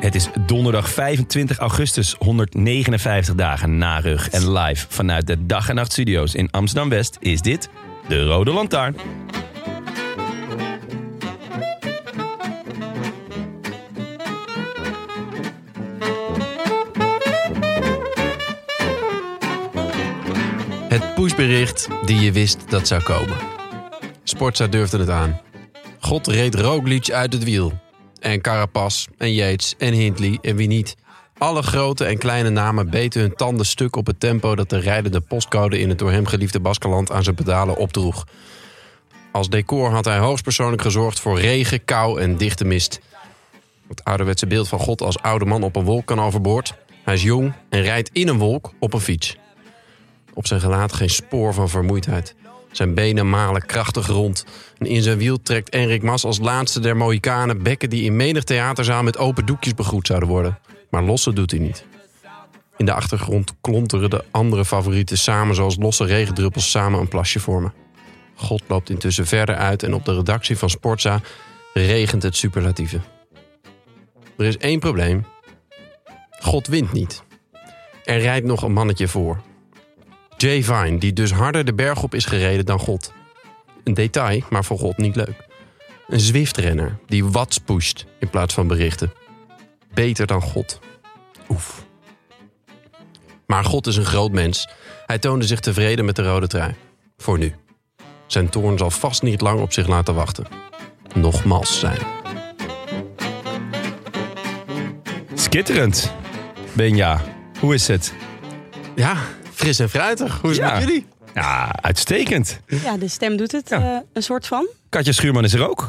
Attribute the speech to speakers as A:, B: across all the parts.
A: Het is donderdag 25 augustus, 159 dagen na rug. En live vanuit de Dag en Nacht Studio's in Amsterdam-West is dit de Rode Lantaarn.
B: Het pushbericht die je wist dat zou komen. Sportza durfde het aan. God reed Roglic uit het wiel. En Carapaz en Yates en Hindley en wie niet. Alle grote en kleine namen beten hun tanden stuk op het tempo dat de rijdende postcode in het door hem geliefde Baskeland aan zijn pedalen opdroeg. Als decor had hij hoogstpersoonlijk gezorgd voor regen, kou en dichte mist. Het ouderwetse beeld van God als oude man op een wolk kan overboord. Hij is jong en rijdt in een wolk op een fiets. Op zijn gelaat geen spoor van vermoeidheid. Zijn benen malen krachtig rond. En in zijn wiel trekt Enrik Mas als laatste der Mohikanen bekken die in menig theaterzaal met open doekjes begroet zouden worden. Maar lossen doet hij niet. In de achtergrond klonteren de andere favorieten samen zoals losse regendruppels samen een plasje vormen. God loopt intussen verder uit en op de redactie van Sportza regent het superlatieve. Er is één probleem. God wint niet. Er rijdt nog een mannetje voor. Jay Vine, die dus harder de berg op is gereden dan God. Een detail, maar voor God niet leuk. Een Zwift-renner die watts pusht in plaats van berichten. Beter dan God. Oef. Maar God is een groot mens. Hij toonde zich tevreden met de rode trui. Voor nu. Zijn toorn zal vast niet lang op zich laten wachten. Nogmaals zijn.
A: Skitterend, Benja. Hoe is het?
B: Ja, fris en fruitig. Hoe is het
A: Ja.
B: met jullie?
A: Ja, uitstekend.
C: Ja, de stem doet het
A: Ja.
C: eh, een soort van.
A: Katja Schuurman is er ook.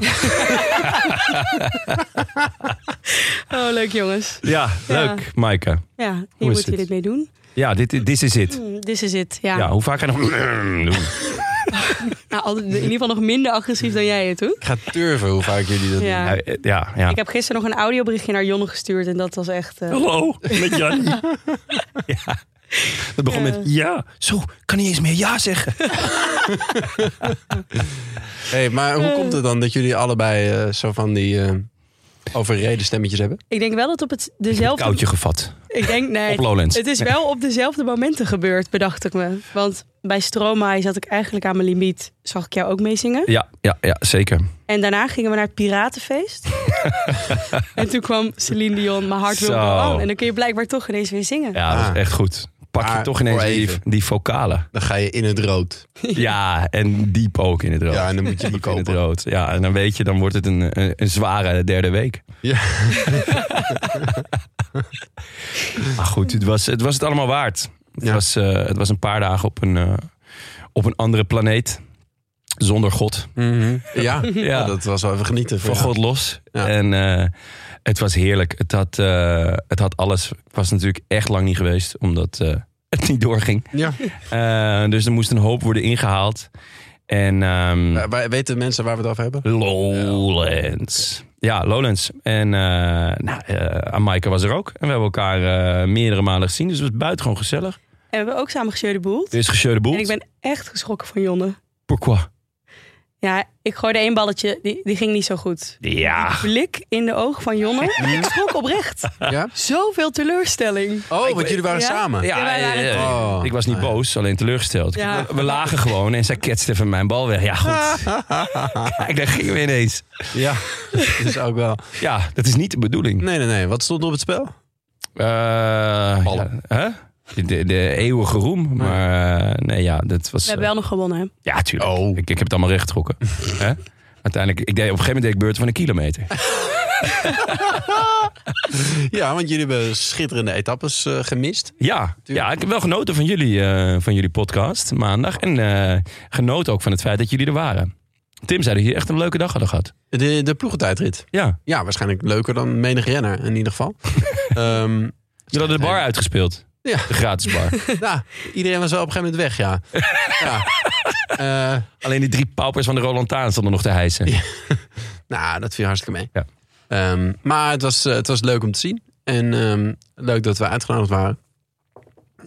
C: Oh, leuk jongens.
A: Ja, leuk, Maaike.
C: Ja, hier
A: is
C: moeten
A: het?
C: jullie dit mee doen.
A: Ja, dit dit is het.
C: Mm, This is it, ja.
A: Ja, hoe vaak ga je nog... doen?
C: Nou, al- in ieder geval nog minder agressief dan jij het doet.
B: Ik ga turven hoe vaak jullie dat
C: Ja.
A: Ja, eh, ja. ja.
C: Ik heb gisteren nog een audioberichtje naar Jonne gestuurd en dat was echt... eh,
A: Hallo, met Jannie. ja. Dat begon met ja. Zo, kan niet eens meer ja zeggen.
B: Hey, maar hoe komt het dan dat jullie allebei eh, zo van die eh, overreden stemmetjes hebben?
C: ik denk wel dat op het
A: Een
C: dezelfde...
A: koudje gevat.
C: Ik denk, nee.
A: Op Lowlands.
C: Het is wel op dezelfde momenten gebeurd, bedacht ik me. Want bij Stromae zat ik eigenlijk aan mijn limiet. Zag ik jou ook meezingen.
A: Ja, ja, ja, zeker.
C: En daarna gingen we naar het Piratenfeest. en toen kwam Celine Dion, mijn hart wil
A: Zo.
C: aan. En dan kun je blijkbaar toch ineens weer zingen.
A: Ja, dat
B: Ah.
A: is echt goed. Pak je
B: Maar
A: toch ineens
B: voor
A: die,
B: even.
A: die vocalen.
B: Dan ga je in het rood.
A: Ja, en diep ook in het rood.
B: Ja, en dan moet je die
A: in het
B: kopen.
A: rood. Ja, en dan weet je, dan wordt het een, een, een zware derde week.
B: Ja.
A: Maar goed, het was het, was het allemaal waard. Het,
B: Ja.
A: was, eh, het was een paar dagen op een, eh, op een andere planeet. Zonder God.
B: Mhm. Ja, Oh,
A: Ja.
B: dat was wel even genieten.
A: van
B: Ja.
A: God los.
B: Ja.
A: En eh, het was heerlijk. Het had, eh, het had alles. Ik was natuurlijk echt lang niet geweest, omdat eh, het niet doorging.
B: Ja.
A: Eh, dus er moest een hoop worden ingehaald. En ehm,
B: Maar- maar weten mensen waar we het over hebben?
A: Lowlands. Ja, Lowlands. En eh nou, eh, Amaike was er ook. En we hebben elkaar eh, meerdere malen gezien. Dus het was buitengewoon gezellig.
C: En we hebben ook samen gesjeudeboeld.
A: Er is Gecheu de boel.
C: En ik ben echt geschrokken van Jonne.
A: Pourquoi?
C: Ja, ik gooide één balletje, die, die ging niet zo goed.
A: Ja.
C: Blik in de oog van Jonne. ik schrok oprecht.
B: Ja?
C: Zoveel teleurstelling.
B: Oh, want jullie waren
C: Ja.
B: samen.
A: Ja,
C: wij waren
A: eh, eh,
B: Oh.
A: ik was niet boos, alleen teleurgesteld.
C: Ja.
A: We lagen gewoon en zij ketste van mijn bal weg. Ja, goed. Kijk, daar gingen we ineens.
B: Ja, dat is Dus ook wel.
A: Ja, dat is niet de bedoeling.
B: Nee, nee, nee. Wat stond er op het spel?
A: Eh, ja, hè? De, de eeuwige roem. Maar eh, nee, ja, dat was... eh,
C: We hebben wel nog gewonnen, hè?
A: Ja, tuurlijk.
B: Oh.
A: Ik, ik heb het allemaal recht getrokken. Hè? Uiteindelijk, ik deed, op een gegeven moment deed ik beurten van een kilometer.
B: Ja, want jullie hebben schitterende etappes eh, gemist.
A: Ja, ja, ik heb wel genoten van jullie, eh, van jullie podcast maandag. En eh, genoten ook van het feit dat jullie er waren. Tim zei dat jullie echt een leuke dag hadden gehad.
B: De, de ploegentijdrit.
A: Ja,
B: Ja, waarschijnlijk leuker dan menig renner in ieder geval. Ehm,
A: jullie hadden de bar uitgespeeld.
B: Ja.
A: De gratis bar.
B: ja, nou, iedereen was wel op een gegeven moment weg, ja. ja. Eh,
A: Alleen die drie paupers van de Roland Taan stonden nog te hijsen.
B: nou, dat viel hartstikke mee.
A: Ja.
B: Ehm, maar het was, eh, het was leuk om te zien. En ehm, leuk dat we uitgenodigd waren.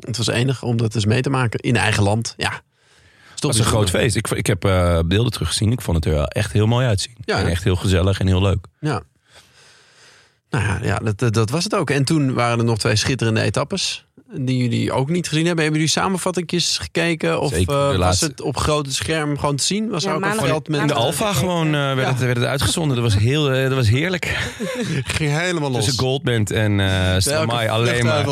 B: Het was enig om dat eens mee te maken in eigen land. Ja. dus
A: Het was een groot feest. Ik, ik heb eh, beelden teruggezien. Ik vond het er wel echt heel mooi uitzien.
B: Ja.
A: En echt heel gezellig en heel leuk.
B: Ja. Nou ja, ja dat, dat, dat was het ook. En toen waren er nog twee schitterende etappes. Die jullie ook niet gezien hebben. Hebben jullie samenvattingjes gekeken? Of
A: Zeker, de
B: eh, was
A: laatste.
B: het op grote scherm gewoon te zien? Was
C: Ja,
B: er ook een
C: maandag-
B: veld met...
A: In de
C: maandag-
A: Alfa gewoon eh, werd, het, werd het uitgezonden. Dat was, heel, eh, dat was heerlijk.
B: ging helemaal
A: Tussen Goldband en eh Stromae alleen maar.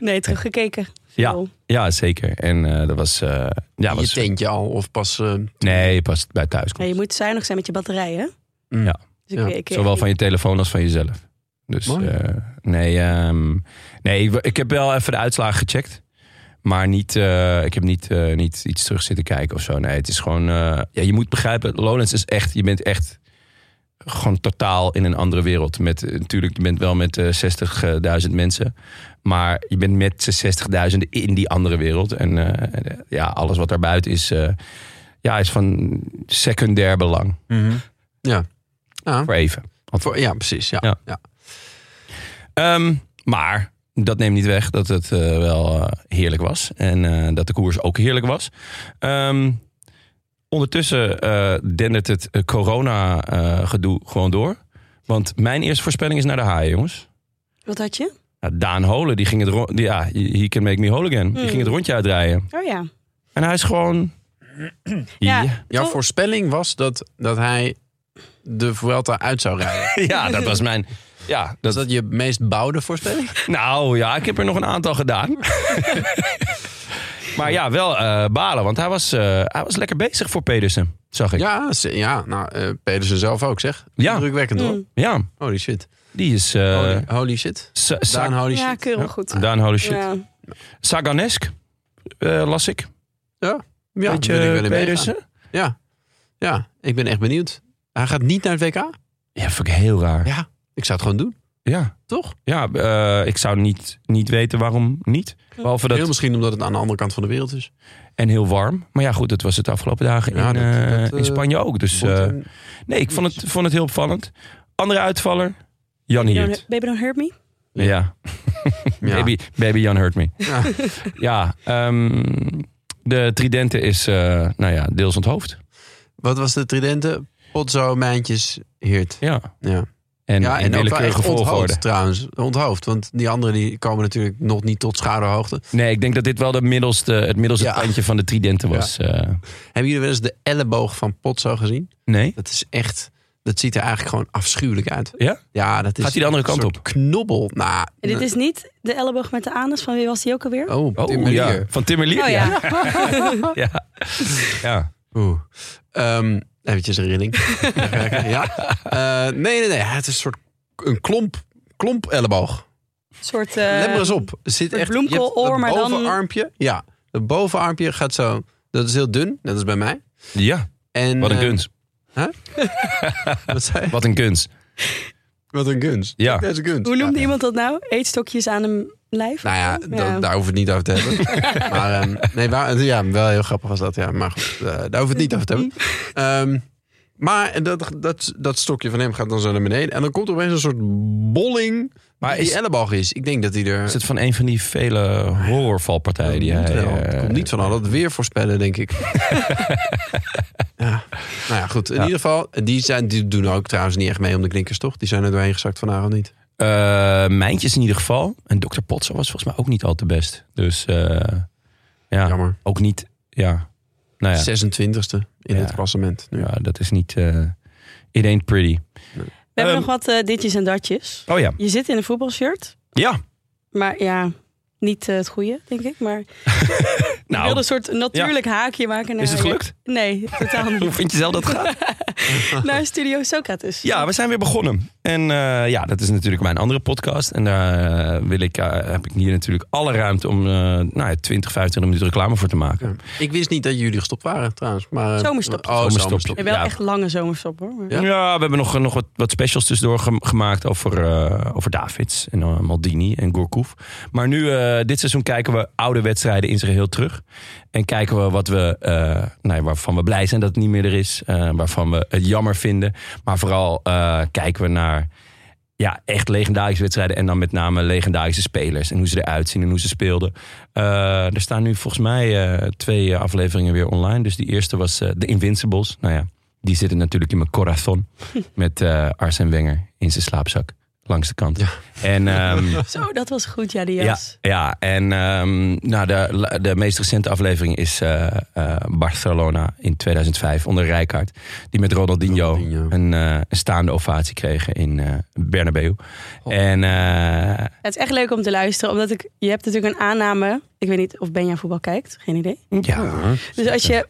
C: Nee, teruggekeken.
A: Ja,
C: Veel.
A: ja, zeker. En eh, dat was... eh, ja,
B: je
A: was
B: tentje al, of pas... eh,
A: Nee, pas bij thuis.
C: Ja, je moet zuinig zijn met je batterij, hè?
B: mm.
A: Ja.
C: Dus
B: Ja,
C: ik, ik,
A: Zowel van je telefoon als van jezelf. Dus
B: Mooi.
A: eh, nee, ehm, nee, ik- ik heb wel even de uitslagen gecheckt. Maar niet, eh, ik heb niet, eh, niet iets terug zitten kijken of zo. Nee, het is gewoon... eh, ja, je moet begrijpen, Lowlands is echt... Je bent echt gewoon totaal in een andere wereld. Met, eh, natuurlijk, je bent wel met eh, 60.000 mensen. Maar je bent met 60.000 in die andere wereld. En eh, ja, alles wat daarbuiten is... eh, ja, is van secundair belang.
B: Mhm. Ja. Ja.
A: Voor even.
B: Voor- ja, precies. Ja.
A: Ja.
B: Ja.
A: Ehm, maar dat neemt niet weg dat het eh, wel eh, heerlijk was. En eh, dat de koers ook heerlijk was. Ehm, ondertussen eh dendert het corona-gedoe gewoon door. Want mijn eerste voorspelling is naar de haaien, jongens.
C: Wat had je?
A: Nou, Daan Holen, die ging het ro- die, ja, he can make me whole again. Die
C: Hmm.
A: ging het rondje uitrijden.
C: Oh ja.
A: En hij is gewoon...
C: Ja.
B: Jouw
C: Toch?
B: voorspelling was dat, dat hij de Vuelta uit zou rijden.
A: ja, dat was mijn... Ja,
B: Is
A: dat,
B: dat je meest bouwde voorspelling?
A: Nou ja, ik heb er nog een aantal gedaan. maar ja, wel eh, balen, want hij was, eh, hij was lekker bezig voor Pedersen, zag ik. Ja,
B: Ja, ze- ja nou, eh, Pedersen zelf ook, zeg.
A: Ja.
B: Drukwekkend hoor.
C: Mm.
B: Holy shit.
A: die is... eh,
B: Holy, holy shit.
A: Sa- Sa-
B: Oh, Daan, holy
C: Ja,
B: shit.
C: keurig goed.
A: Daan, holy shit.
C: Ja.
A: Saganesk, eh, las ik.
B: Ja,
A: Weet je,
B: wil ik wel in meegaan.
A: Pedersen?
B: Ja. ja, ik ben echt benieuwd. Hij gaat niet naar het WK?
A: Ja, vind ik heel raar.
B: Ja. Ik zou het gewoon doen,
A: Ja,
B: toch?
A: ja, eh, ik zou niet, niet weten waarom niet. Behalve dat...
B: Heel misschien omdat het aan de andere kant van de wereld is.
A: En heel warm. Maar ja, goed, dat was het de afgelopen dagen
B: Ja,
A: in,
B: dat-
A: eh,
B: dat, eh,
A: in Spanje ook. Dus eh,
B: Want, eh,
A: nee, ik vond het, vond het heel opvallend. Andere uitvaller, Jan
C: Baby don't,
A: Hiert.
C: baby don't hurt me.
A: Ja.
B: ja.
A: Baby, baby Jan hurt me.
B: Ja.
A: Ja, ehm, de Tridente is eh, nou ja, deels onthoofd.
B: Wat was de tridente? Potzo, Mijntjes, Heert.
A: Ja.
B: Ja,
A: En
B: ja
A: in
B: en ook wel echt
A: willekeurige volgorde.
B: onthoofd trouwens. Onthoofd, want die anderen die komen natuurlijk nog niet tot schouderhoogte.
A: Nee, ik denk dat dit wel de middelste, het middelste
B: Ja.
A: kantje van de Tridente was. eh.
B: Hebben jullie wel eens de elleboog van Potzo gezien?
A: nee?
B: Dat is echt. Dat ziet er eigenlijk gewoon afschuwelijk uit.
A: Ja?
B: Ja, dat is.
A: Gaat hij de andere
B: een
A: kant
B: soort
A: op?
B: Knobbel. Nou.
C: En dit is niet de elleboog met de anus. Van wie was die ook alweer?
B: Oh,
A: Oh,
B: Tim
A: ja.
B: ja.
A: Van Timmerlier,
C: Oh
A: ja.
C: ja.
A: Ja. ja.
B: Oeh. Ehm, eventjes een rilling. ja. Eh, nee, nee, nee. Het is een soort een klomp, klomp elleboog.
C: Een soort... eh,
B: Let maar eens op. Er zit
C: een
B: echt.
C: bloemkooloor,
B: je hebt
C: maar
B: het
C: dan-
B: bovenarmpje. Ja. Het bovenarmpje gaat zo. Dat is heel dun. Dat is bij mij.
A: Ja,
B: En,
A: wat een
B: eh,
A: kunst.
B: Wat, zei je?
A: Wat een kunst.
B: wat een guns.
A: Ja.
B: Deze guns.
C: Hoe noemde iemand dat nou? Eetstokjes aan een lijf?
B: Nou ja,
C: Ja.
B: da- daar hoeven we het niet over te hebben. maar ehm, nee, waar, ja, wel heel grappig was dat. Ja, maar goed, eh, daar hoeven we het niet over te hebben. Ehm, maar dat, dat, dat stokje van hem gaat dan zo naar beneden. En dan komt er opeens een soort bolling
A: Maar
B: maar
A: is-
B: die elleboog is. Ik denk dat hij er...
A: Is het van een van die vele horrorvalpartijen die
B: moet
A: hij...
B: wel. Het
A: eh,
B: komt niet van al dat weer voorspellen, denk ik. ja. Nou ja, goed. In ieder geval, die, zijn, die doen ook trouwens niet echt mee om de knikkers, toch? Die zijn er doorheen gezakt vanavond niet.
A: Eh, Mijntjes in ieder geval. En Dr. Potso was volgens mij ook niet al te best. Dus eh, ja,
B: Jammer.
A: ook niet... Ja, nou ja,
B: 26e in
A: Ja.
B: het klassement. Nu.
A: ja dat is niet eh it ain't pretty.
C: We
A: Ehm,
C: hebben nog wat eh, ditjes en datjes.
A: Oh ja.
C: Je zit in een voetbalshirt,
A: Ja.
C: maar ja, niet eh, het goede, denk ik. Maar ik wilde
A: Nou,
C: een soort natuurlijk haakje maken. Naar
A: is
C: eh,
A: het gelukt?
C: Nee, totaal
A: Hoe
C: niet.
A: vind je zelf dat het gaat?
C: naar Studio Socrates.
A: Ja, we zijn weer begonnen. En eh, ja, dat is natuurlijk mijn andere podcast. En daar eh, wil ik, eh, heb ik hier natuurlijk alle ruimte om eh nou, ja, 20, 25 minuten reclame voor te maken.
B: Ja. Ik wist niet dat jullie gestopt waren trouwens. Maar, eh,
C: Zomerstop.
B: Oh,
A: Zomerstop.
B: zomerstop.
C: En wel
A: Ja.
C: echt lange zomerstop hoor. Maar-
B: Ja.
A: Ja, we hebben nog, nog wat, wat specials tussendoor gem- gemaakt over, eh, over Davids en eh, Maldini en Gourcouf. Maar nu, eh, dit seizoen kijken we oude wedstrijden in zijn geheel terug. En kijken we wat we, eh, nou ja, waarvan we blij zijn dat het niet meer er is. eh, waarvan we het jammer vinden. Maar vooral eh, kijken we naar ja, echt legendarische wedstrijden. En dan met name legendarische spelers. En hoe ze eruit zien en hoe ze speelden. Eh, er staan nu volgens mij eh, twee eh, afleveringen weer online. Dus die eerste was eh The Invincibles. Nou ja, die zitten natuurlijk in mijn corazon. Met eh Arsène Wenger in zijn slaapzak. Langs de kant.
B: Ja.
A: En ehm,
C: Zo, dat was goed, ja, die jas.
A: ja, ja, en ehm, nou, de, de meest recente aflevering is eh, eh, Barcelona in 2005 onder Rijkaard. Die met Ronaldinho,
B: Ronaldinho.
A: Een, eh, een staande ovatie kregen in eh, Bernabeu. En eh,
C: Het is echt leuk om te luisteren, omdat ik, je hebt natuurlijk een aanname. Ik weet niet of Benja voetbal kijkt, geen idee.
A: ja,
C: Dus als je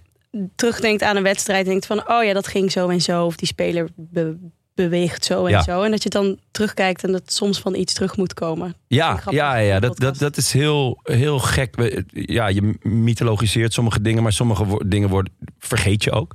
C: terugdenkt aan een wedstrijd, denkt van, oh ja, dat ging zo en zo, of die speler be- beweegt zo en
A: Ja.
C: zo. En dat je dan terugkijkt en dat soms van iets terug moet komen.
A: ja,
C: grappig
A: ja, ja dat, dat,
C: podcast.
A: dat is heel, heel gek. We- Ja, je mythologiseert sommige dingen, maar sommige wo- dingen worden, vergeet je ook.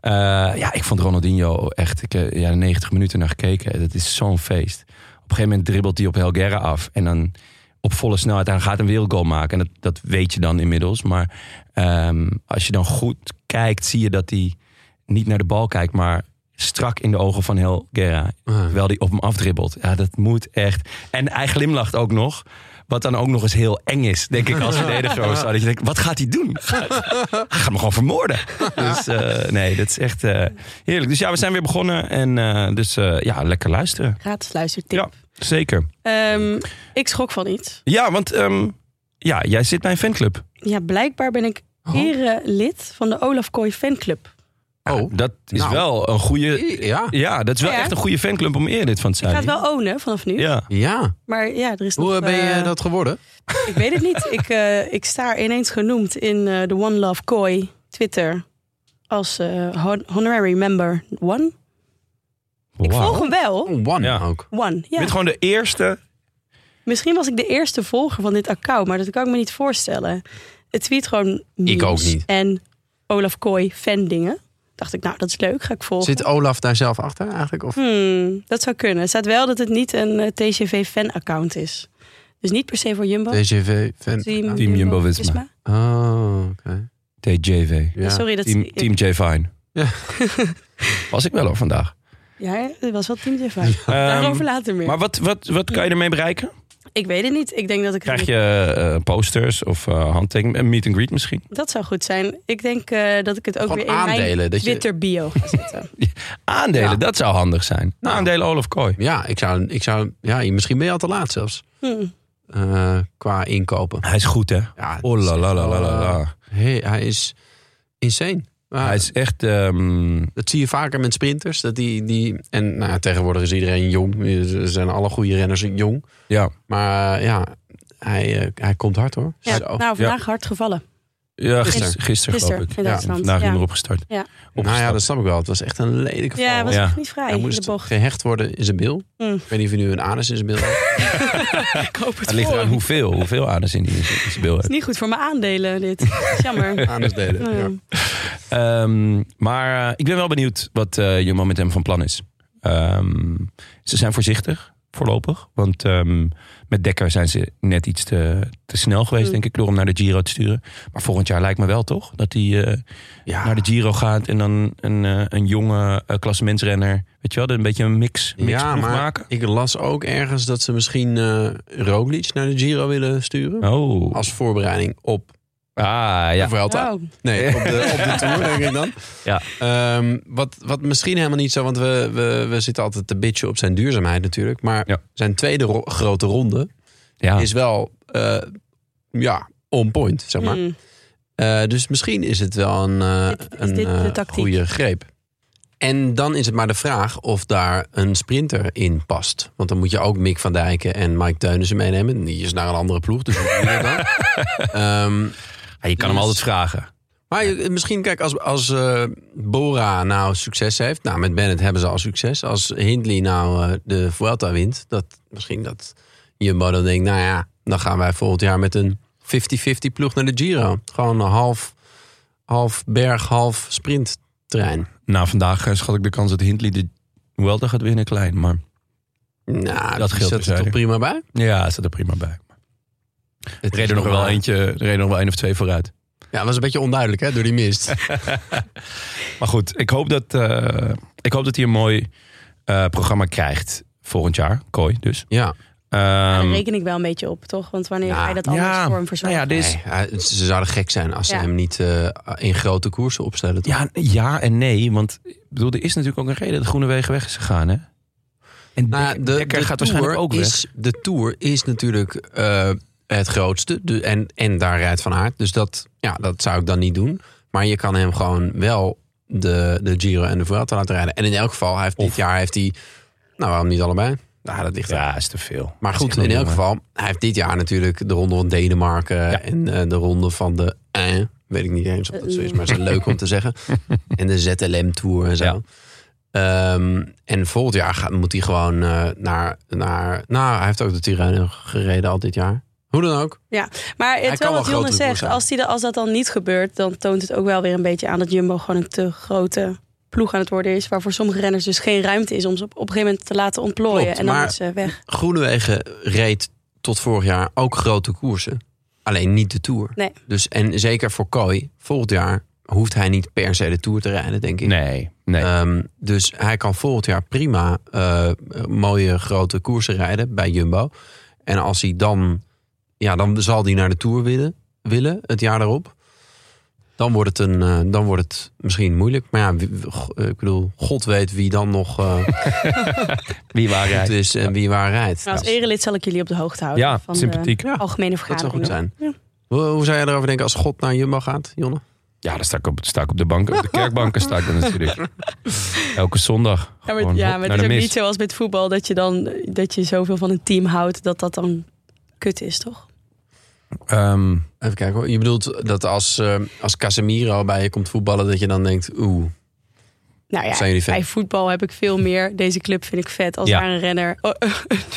A: Eh, ja, ik vond Ronaldinho echt, ik heb ja, 90 minuten naar gekeken. Dat is zo'n feest. Op een gegeven moment dribbelt hij op Helguera af. En dan op volle snelheid. Hij gaat een wereldgoal maken. En dat, dat weet je dan inmiddels. Maar ehm, als je dan goed kijkt, zie je dat hij niet naar de bal kijkt. Maar strak in de ogen van Helguera. Terwijl hij op hem afdribbelt. Ja, dat moet echt. En hij glimlacht ook nog. Wat dan ook nog eens heel eng is, denk ik, als verdediger. of zo. Dat je denkt, wat gaat hij doen? Hij gaat me gewoon vermoorden. Dus eh, nee, dat is echt eh, heerlijk. Dus ja, we zijn weer begonnen. En eh, dus eh, ja, lekker luisteren.
C: Gratis luistertip.
A: Ja, zeker.
C: Ehm, ik schrok van iets.
A: Ja, want ehm, ja, jij zit bij een fanclub.
C: Ja, blijkbaar ben ik ere lid van de Olaf Kooi fanclub.
B: Oh,
A: dat is
B: nou.
A: wel een goede.
B: Eh, ja.
A: Ja, dat is wel
C: Ja.
A: echt een goede fanclub om eerder van te
C: Ik
A: zijn.
C: ga het wel ownen vanaf nu.
A: Ja.
B: Ja.
C: Maar ja, er is
B: Hoe
C: nog,
B: eh, ben je
C: eh,
B: dat geworden?
C: Ik weet het niet. Ik, eh, ik sta ineens genoemd in eh, de One Love Koi Twitter. Als eh, hon- honorary member one. Ik
A: Wauw.
C: volg hem wel.
B: Oh, one
A: Ja.
B: ook.
C: One,
A: Je
C: ja.
A: bent gewoon de eerste.
C: Misschien was ik de eerste volger van dit account, maar dat kan ik me niet voorstellen. Het tweet gewoon memes
B: ook niet.
C: En Olaf Kooi fan dingen. Dacht ik, nou dat is leuk, ga ik volgen.
B: Zit Olaf daar zelf achter eigenlijk? Of?
C: Hmm, dat zou kunnen. Het staat wel dat het niet een eh, TCV fan account is. Dus niet per se voor Jumbo.
B: DGV? Fan.
C: Team,
A: Jumbo Visma.
C: Visma.
B: Oh, oké.
A: TJV.
B: Ja.
C: Sorry, dat
A: Team,
C: is-
A: team J Fine.
B: Ja.
A: Was ik wel hoor vandaag.
C: Ja, dat was wel Team Jumbo. Daarover
A: Ehm,
C: later meer.
A: maar wat, wat, wat kan je ermee bereiken?
C: Ik weet het niet. Ik denk dat ik het
A: Krijg je eh, posters of eh handtekeningen? Een meet and greet misschien?
C: Dat zou goed zijn. Ik denk eh, dat ik het ook
B: Gewoon
C: weer in
B: aandelen,
C: mijn
B: dat je-
C: Twitter bio ga zetten.
A: Aandelen,
B: Ja.
A: dat zou handig zijn.
B: Nou.
A: Aandelen Olaf Kooi.
B: Ja, ik zou, ik zou, ja, misschien ben je al te laat zelfs.
C: Hm.
B: eh, qua inkopen.
A: Hij is goed hè?
B: Ja,
A: Oh la la la la la la.
B: Hey, hij is insane. Maar
A: Hij is echt... ehm,
B: Dat zie je vaker met sprinters. Dat die, die, en nou, ja, tegenwoordig is iedereen jong. Er zijn alle goede renners jong.
A: ja.
B: Maar eh, ja, hij, eh, hij komt hard hoor.
C: Ja,
B: Zo.
C: nou, vandaag hard gevallen.
A: Ja, gisteren,
B: Gisteren.
A: gisteren, geloof
C: Gisteren
A: ik.
C: in
B: Ja,
C: Duitsland.
A: Vandaag
C: ja.
A: niet meer opgestart.
C: Ja.
B: Nou ja,
A: Opgestapt.
B: dat snap ik wel. Het was echt een lelijke
C: Ja, hij
B: val.
C: was
A: Ja.
C: echt niet vrij
B: hij
C: in de
B: moest
C: bocht.
B: gehecht worden in zijn bil.
C: Hm.
B: Ik weet niet of hij nu een anus in zijn bil heeft.
C: Ik hoop het
A: Het ligt
C: voor
A: aan
C: hem.
A: hoeveel, hoeveel aders in die in zijn beeld
C: Het is niet goed voor mijn aandelen, dit. Is Jammer.
B: Anus delen.
C: Ja.
B: Ja.
A: Ehm, maar eh, ik ben wel benieuwd wat eh Jumbo met hem van plan is. Ehm, ze zijn voorzichtig voorlopig. Want ehm, met Dekker zijn ze net iets te, te snel geweest,
C: Mm.
A: denk ik, door hem naar de Giro te sturen. Maar volgend jaar lijkt me wel toch dat hij eh,
B: Ja.
A: naar de Giro gaat en dan een, eh, een jonge eh klassementsrenner. Weet je wel, een beetje een mix, mix
B: Ja, maar
A: maken.
B: ik las ook ergens dat ze misschien eh Roglic naar de Giro willen sturen.
A: Oh,
B: Als voorbereiding op
A: ah ja.
B: de Vuelta.
C: Wow.
B: Nee, op de, op de Tour denk ik dan.
A: Ja.
B: Ehm, wat, wat misschien helemaal niet zo, want we, we, we zitten altijd te bitchen op zijn duurzaamheid natuurlijk. Maar
A: Ja. Ah.
B: zijn tweede ro- grote ronde
A: ja.
B: is wel eh, ja, on point, zeg maar.
C: Hm.
B: Eh, dus misschien is het wel een, eh,
C: Dit- is
B: een
C: dit de
B: eh,
C: tactiek?
B: goede greep. En dan is het maar de vraag of daar een sprinter in past. Want dan moet je ook Mick van Dijken en Mike Teunissen meenemen. Die is naar een andere ploeg, dus hoe doe je dat dan? Ehm,
A: Ja, je kan hem
B: Dus-
A: altijd vragen.
B: maar je- misschien, kijk, als, als eh, Bora nou succes heeft... Nou, met Bennett hebben ze al succes. Als Hindley nou eh, de Vuelta wint... Dat, misschien dat Jumbo dan denkt... Nou ja, dan gaan wij volgend jaar met een 50-50 ploeg naar de Giro. Gewoon een half, half berg, half sprinttrein.
A: Nou, vandaag eh, schat ik de kans dat Hindley de Welter gaat winnen klein. Maar
B: Nou,
A: Dat scheelt
B: dat zat er toch
A: terzijde.
B: prima bij?
A: ja, het staat er prima bij.
B: Het
A: Er reden er nog wel eentje, er reden er nog wel één of twee vooruit.
B: Ja, dat was een beetje onduidelijk hè, door die mist.
A: Maar goed, ik hoop dat, eh, ik hoop dat hij een mooi eh, programma krijgt volgend jaar. Kooi dus.
B: ja,
C: Daar
A: Ehm,
C: reken ik wel een beetje op, toch? Want wanneer
B: Ja.
C: ga je dat anders
A: Ja.
C: voor hem verzorgen?
A: Nou ja, dit is-
B: nee, hij- ze zouden gek zijn als ze
C: Ja.
B: hem niet eh, in grote koersen opstellen. toch?
A: ja, ja en nee, want ik bedoel, er is natuurlijk ook een reden dat Groenewegen weg is gegaan. Hè? En
B: Nou ja,
A: Dek- Dekker gaat
B: tour
A: waarschijnlijk ook weg.
B: is, De Tour is natuurlijk eh, het grootste. De, en, en daar rijdt Van Aert. Dus dat, ja, dat zou ik dan niet doen. Maar je kan hem gewoon wel de, de Giro en de Vuelta laten rijden. En in elk geval, hij heeft dit jaar heeft hij... Nou, waarom niet allebei? Nou, dat ligt eraan.
A: Ja, is te veel.
B: Maar
A: Dat is
B: goed,
A: echt een
B: in elk
A: jongen.
B: geval, hij heeft dit jaar natuurlijk de ronde van Denemarken en eh, de ronde van de eh, weet ik niet eens of dat zo is, maar het is leuk om te zeggen. En de ZLM Tour en zo.
A: Ja.
B: Ehm, en volgend jaar gaat, moet hij gewoon eh, naar, naar, nou, hij heeft ook de Tirreno gereden al dit jaar. Hoe dan ook.
C: Maar
B: kan wel
C: het wel wat Jonne
B: grotere koers
C: zegt,
B: zijn.
C: als, die, de- als dat dan niet gebeurt, dan toont het ook wel weer een beetje aan dat Jumbo gewoon een te grote ploeg aan het worden is. Waarvoor sommige renners dus geen ruimte is om ze op, op een gegeven moment te laten ontplooien.
B: Klopt,
C: en dan
B: maar-
C: is ze weg.
B: Groenewegen reed tot vorig jaar ook grote koersen. Alleen niet de Tour.
C: Nee.
B: Dus, en zeker voor Kooi, volgend jaar hoeft hij niet per se de Tour te rijden, denk ik.
A: Nee, nee.
B: Ehm, dus hij kan volgend jaar prima eh, mooie grote koersen rijden bij Jumbo. En als hij dan, ja, dan zal hij naar de Tour willen, willen het jaar daarop. Dan wordt het, een, eh, dan wordt het misschien moeilijk. Maar ja, wie- go- eh, ik bedoel, God weet wie dan nog eh,
A: Wie waar
B: goed eh,
A: rijdt.
B: is en wie waar rijdt.
C: Nou, als
B: Ja,
C: erelid zal ik jullie op de hoogte houden
A: Ja,
C: van
A: sympathiek.
C: de algemene
B: dat zou
C: vergadering.
B: goed zijn.
C: Ja.
B: Hoe, hoe zou jij erover denken als God naar Jumbo gaat, Jonne?
A: Ja, dan sta ik op, sta ik op de banken, op de kerkbanken sta ik dan natuurlijk. Elke zondag.
C: Ja, maar,
A: gewoon
C: ja,
A: hop,
C: maar
A: naar
C: het is
A: de
C: ook
A: mis.
C: niet zoals met voetbal dat je dan dat je zoveel van een team houdt dat dat dan kut is, toch?
A: Ehm,
B: Even kijken hoor. Je bedoelt dat als, eh, als Casemiro bij je komt voetballen, dat je dan denkt, oeh.
C: Nou ja,
B: Zijn jullie fan?
C: bij voetbal heb ik veel meer. Deze club vind ik vet. Als
A: Ja.
C: daar een renner, oh, een,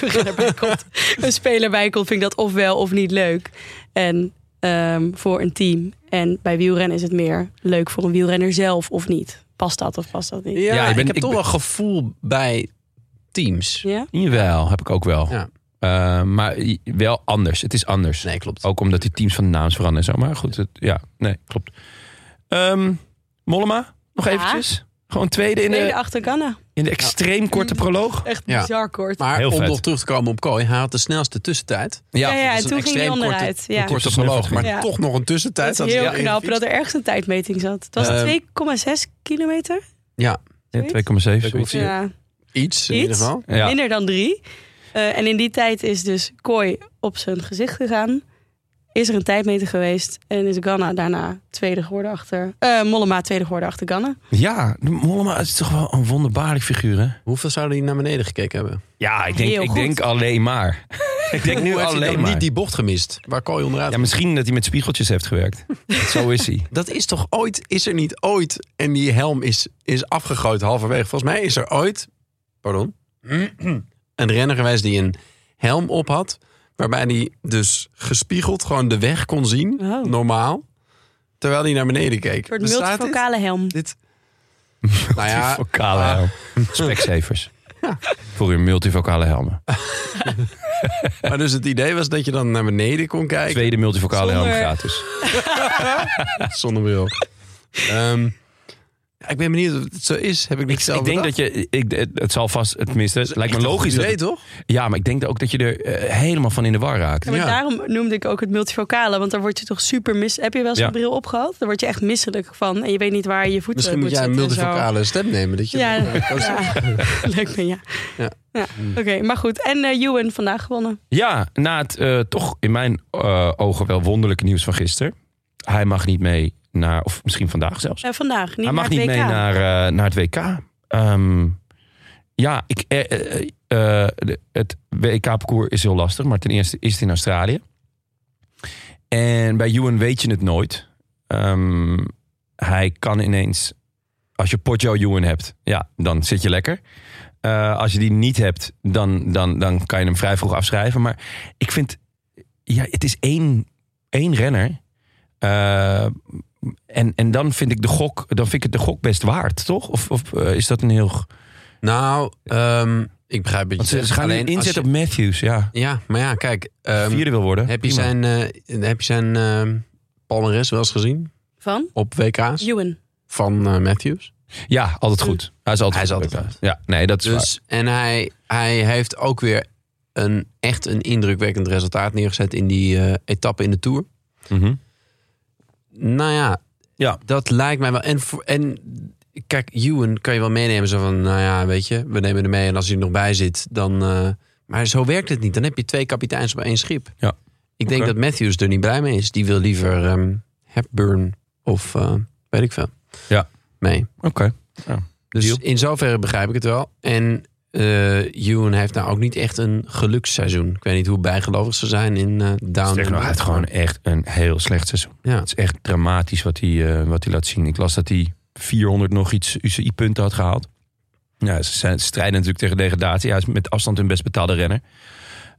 C: renner bij komt, een speler bij komt, vind ik dat of wel of niet leuk. En ehm, voor een team. En bij wielrennen is het meer leuk voor een wielrenner zelf of niet. Past dat of past dat niet?
B: Ja,
A: Ja, ik
B: ik,
A: ben-
B: heb
A: ik
B: toch
A: ben-
B: wel gevoel bij teams.
C: Ja?
A: Jawel, heb ik ook wel.
B: Ja.
A: Eh, maar i- wel anders. Het is anders.
B: Nee, klopt.
A: Ook omdat die teams van de naams veranderen en zo. Maar goed, het- ja, nee, klopt. Ehm, Mollema, nog
C: Ja.
A: eventjes. Gewoon tweede in
C: Tweede
A: de,
C: achter Ganna.
A: in de extreem korte proloog.
C: Echt
B: Ja.
C: bizar kort.
B: Maar
A: Heel
B: om
A: vet.
B: nog terug te komen op Kooi, hij had de snelste tussentijd.
C: ja, ja,
B: dat is
C: en
B: een
C: toen ging hij
B: extreem korte-
C: onderuit. Ja.
A: korte
B: Korte proloog, maar
C: Ja.
B: toch nog een tussentijd.
C: Dat
B: had
C: is heel
B: hij erin
C: knap dat
B: gefietst.
C: er ergens een tijdmeting zat. Het was
B: Ehm,
C: 2,6 kilometer.
B: Ja,
A: Ja, 2,7. zoiets.
B: Zie je.
C: Ja,
B: iets in
C: Iets?
B: ieder geval.
A: Ja.
C: Minder dan drie. Eh, en in die tijd is dus Kooi op zijn gezicht gegaan. Is er een tijdmeter geweest. En is Ganna daarna tweede geworden achter... eh, Mollema tweede geworden achter Ganna.
A: ja, Mollema is toch wel een wonderbaarlijk figuur, hè?
B: Hoeveel zouden die naar beneden gekeken hebben?
A: Ja, ik
C: Heel
A: denk, ik
C: goed.
A: denk alleen maar. ik denk nu
B: Hoe heeft hij
A: alleen
B: dan
A: maar.
B: niet die bocht gemist waar Kooi onderuit
A: Ja, misschien dat hij met spiegeltjes heeft gewerkt. zo is hij.
B: Dat is toch ooit, is er niet ooit. En die helm is, is afgegooid halverwege. Volgens mij is er ooit, pardon, een renner geweest die een helm op had. Waarbij die dus gespiegeld gewoon de weg kon zien,
C: Oh.
B: normaal. Terwijl hij naar beneden keek.
C: Een soort
B: Bestaat
C: multifocale helm.
B: dit? dit? Nou ja,
A: Multivocale
B: ah,
A: helm. Specsavers. Voor uw multivocale helmen.
B: maar dus het idee was dat je dan naar beneden kon kijken.
A: Tweede multivocale helm
C: Zonder-
A: gratis.
B: Zonder bril. Ehm, ja, ik ben benieuwd of het zo is. Heb ik niet
A: Ik,
B: zelf
A: ik denk dat je, ik, het, het zal vast, het tenminste, het lijkt me logisch. Dat
B: Idee,
A: het-
B: toch?
A: ja, maar ik denk ook dat je er eh, helemaal van in de war raakt.
C: Ja, maar
B: Ja.
C: daarom noemde ik ook het multifocale. Want daar word je toch super mis... Heb je wel zo'n
A: Ja.
C: bril opgehad? Daar word je echt misselijk van. En je weet niet waar je je voeten
B: Misschien moet jij een
C: zetten eh, en zo.
B: multifocale stem nemen. Dat je
C: Ja,
B: dat is-
C: ja. leuk ben ja.
B: Ja.
C: ja. Oké, maar goed. En eh Ewan vandaag gewonnen.
A: Ja, na het eh, toch in mijn eh, ogen wel wonderlijke nieuws van gisteren. Hij mag niet mee naar, of misschien vandaag zelfs.
C: Eh, vandaag, niet
A: Hij mag
C: naar
A: niet
C: het
A: mee
C: WK.
A: naar, eh, naar het WK. Ehm, ja, ik, eh, eh, eh, eh, de- het WK-parcours is heel lastig. Maar ten eerste is het in Australië. En bij Ewan weet je het nooit. Ehm, hij kan ineens... Als je Poggio Ewan hebt, ja, dan zit je lekker. Eh, als je die niet hebt, dan, dan, dan kan je hem vrij vroeg afschrijven. Maar ik vind... Ja, het is één, één renner. Eh, en, en dan vind ik de gok, dan vind ik het de gok best waard, toch? Of, of eh, is dat een heel.
B: Nou, ehm, ik begrijp het.
A: Want ze, ze gaan nu inzetten op Matthews, ja.
B: Ja, maar ja, kijk. ehm,
A: Vierde wil worden.
B: heb je
A: prima.
B: zijn, eh, heb je zijn ehm palmarès wel eens gezien?
C: Van?
B: Op WK's?
C: Ewan.
B: Van eh, Matthews?
A: Ja, altijd goed. Hij is altijd,
B: Hm. Hij is
A: goed.
B: altijd
A: Ja, nee, dat is waar.
B: Dus, en hij, hij heeft ook weer een, echt een indrukwekkend resultaat neergezet in die eh, etappe in de Tour.
A: Mhm.
B: Nou ja,
A: Ja.
B: dat lijkt mij wel. En, voor- en kijk, Ewan kan je wel meenemen. Zo van, nou ja, weet je, we nemen hem mee. En als hij er nog bij zit, dan... eh, maar zo werkt het niet. Dan heb je twee kapiteins op één schip.
A: Ja.
B: Ik denk
A: Oké.
B: dat Matthews er niet blij mee is. Die wil liever ehm, Hepburn of eh, weet ik veel.
A: Ja.
B: Mee.
A: Oké.
B: Dus
A: Deal.
B: in zoverre begrijp ik het wel. En eh Ewan heeft nou ook niet echt een geluksseizoen. Ik weet niet hoe bijgelovig ze zijn in eh Down.
A: Sterker nog, hij heeft gewoon echt een heel slecht seizoen.
B: Ja.
A: Het is echt dramatisch wat hij, eh, wat hij laat zien. Ik las dat hij 400 nog iets UCI-punten had gehaald. Ja, ze zijn, strijden natuurlijk tegen degradatie. Hij is met afstand hun best betaalde renner.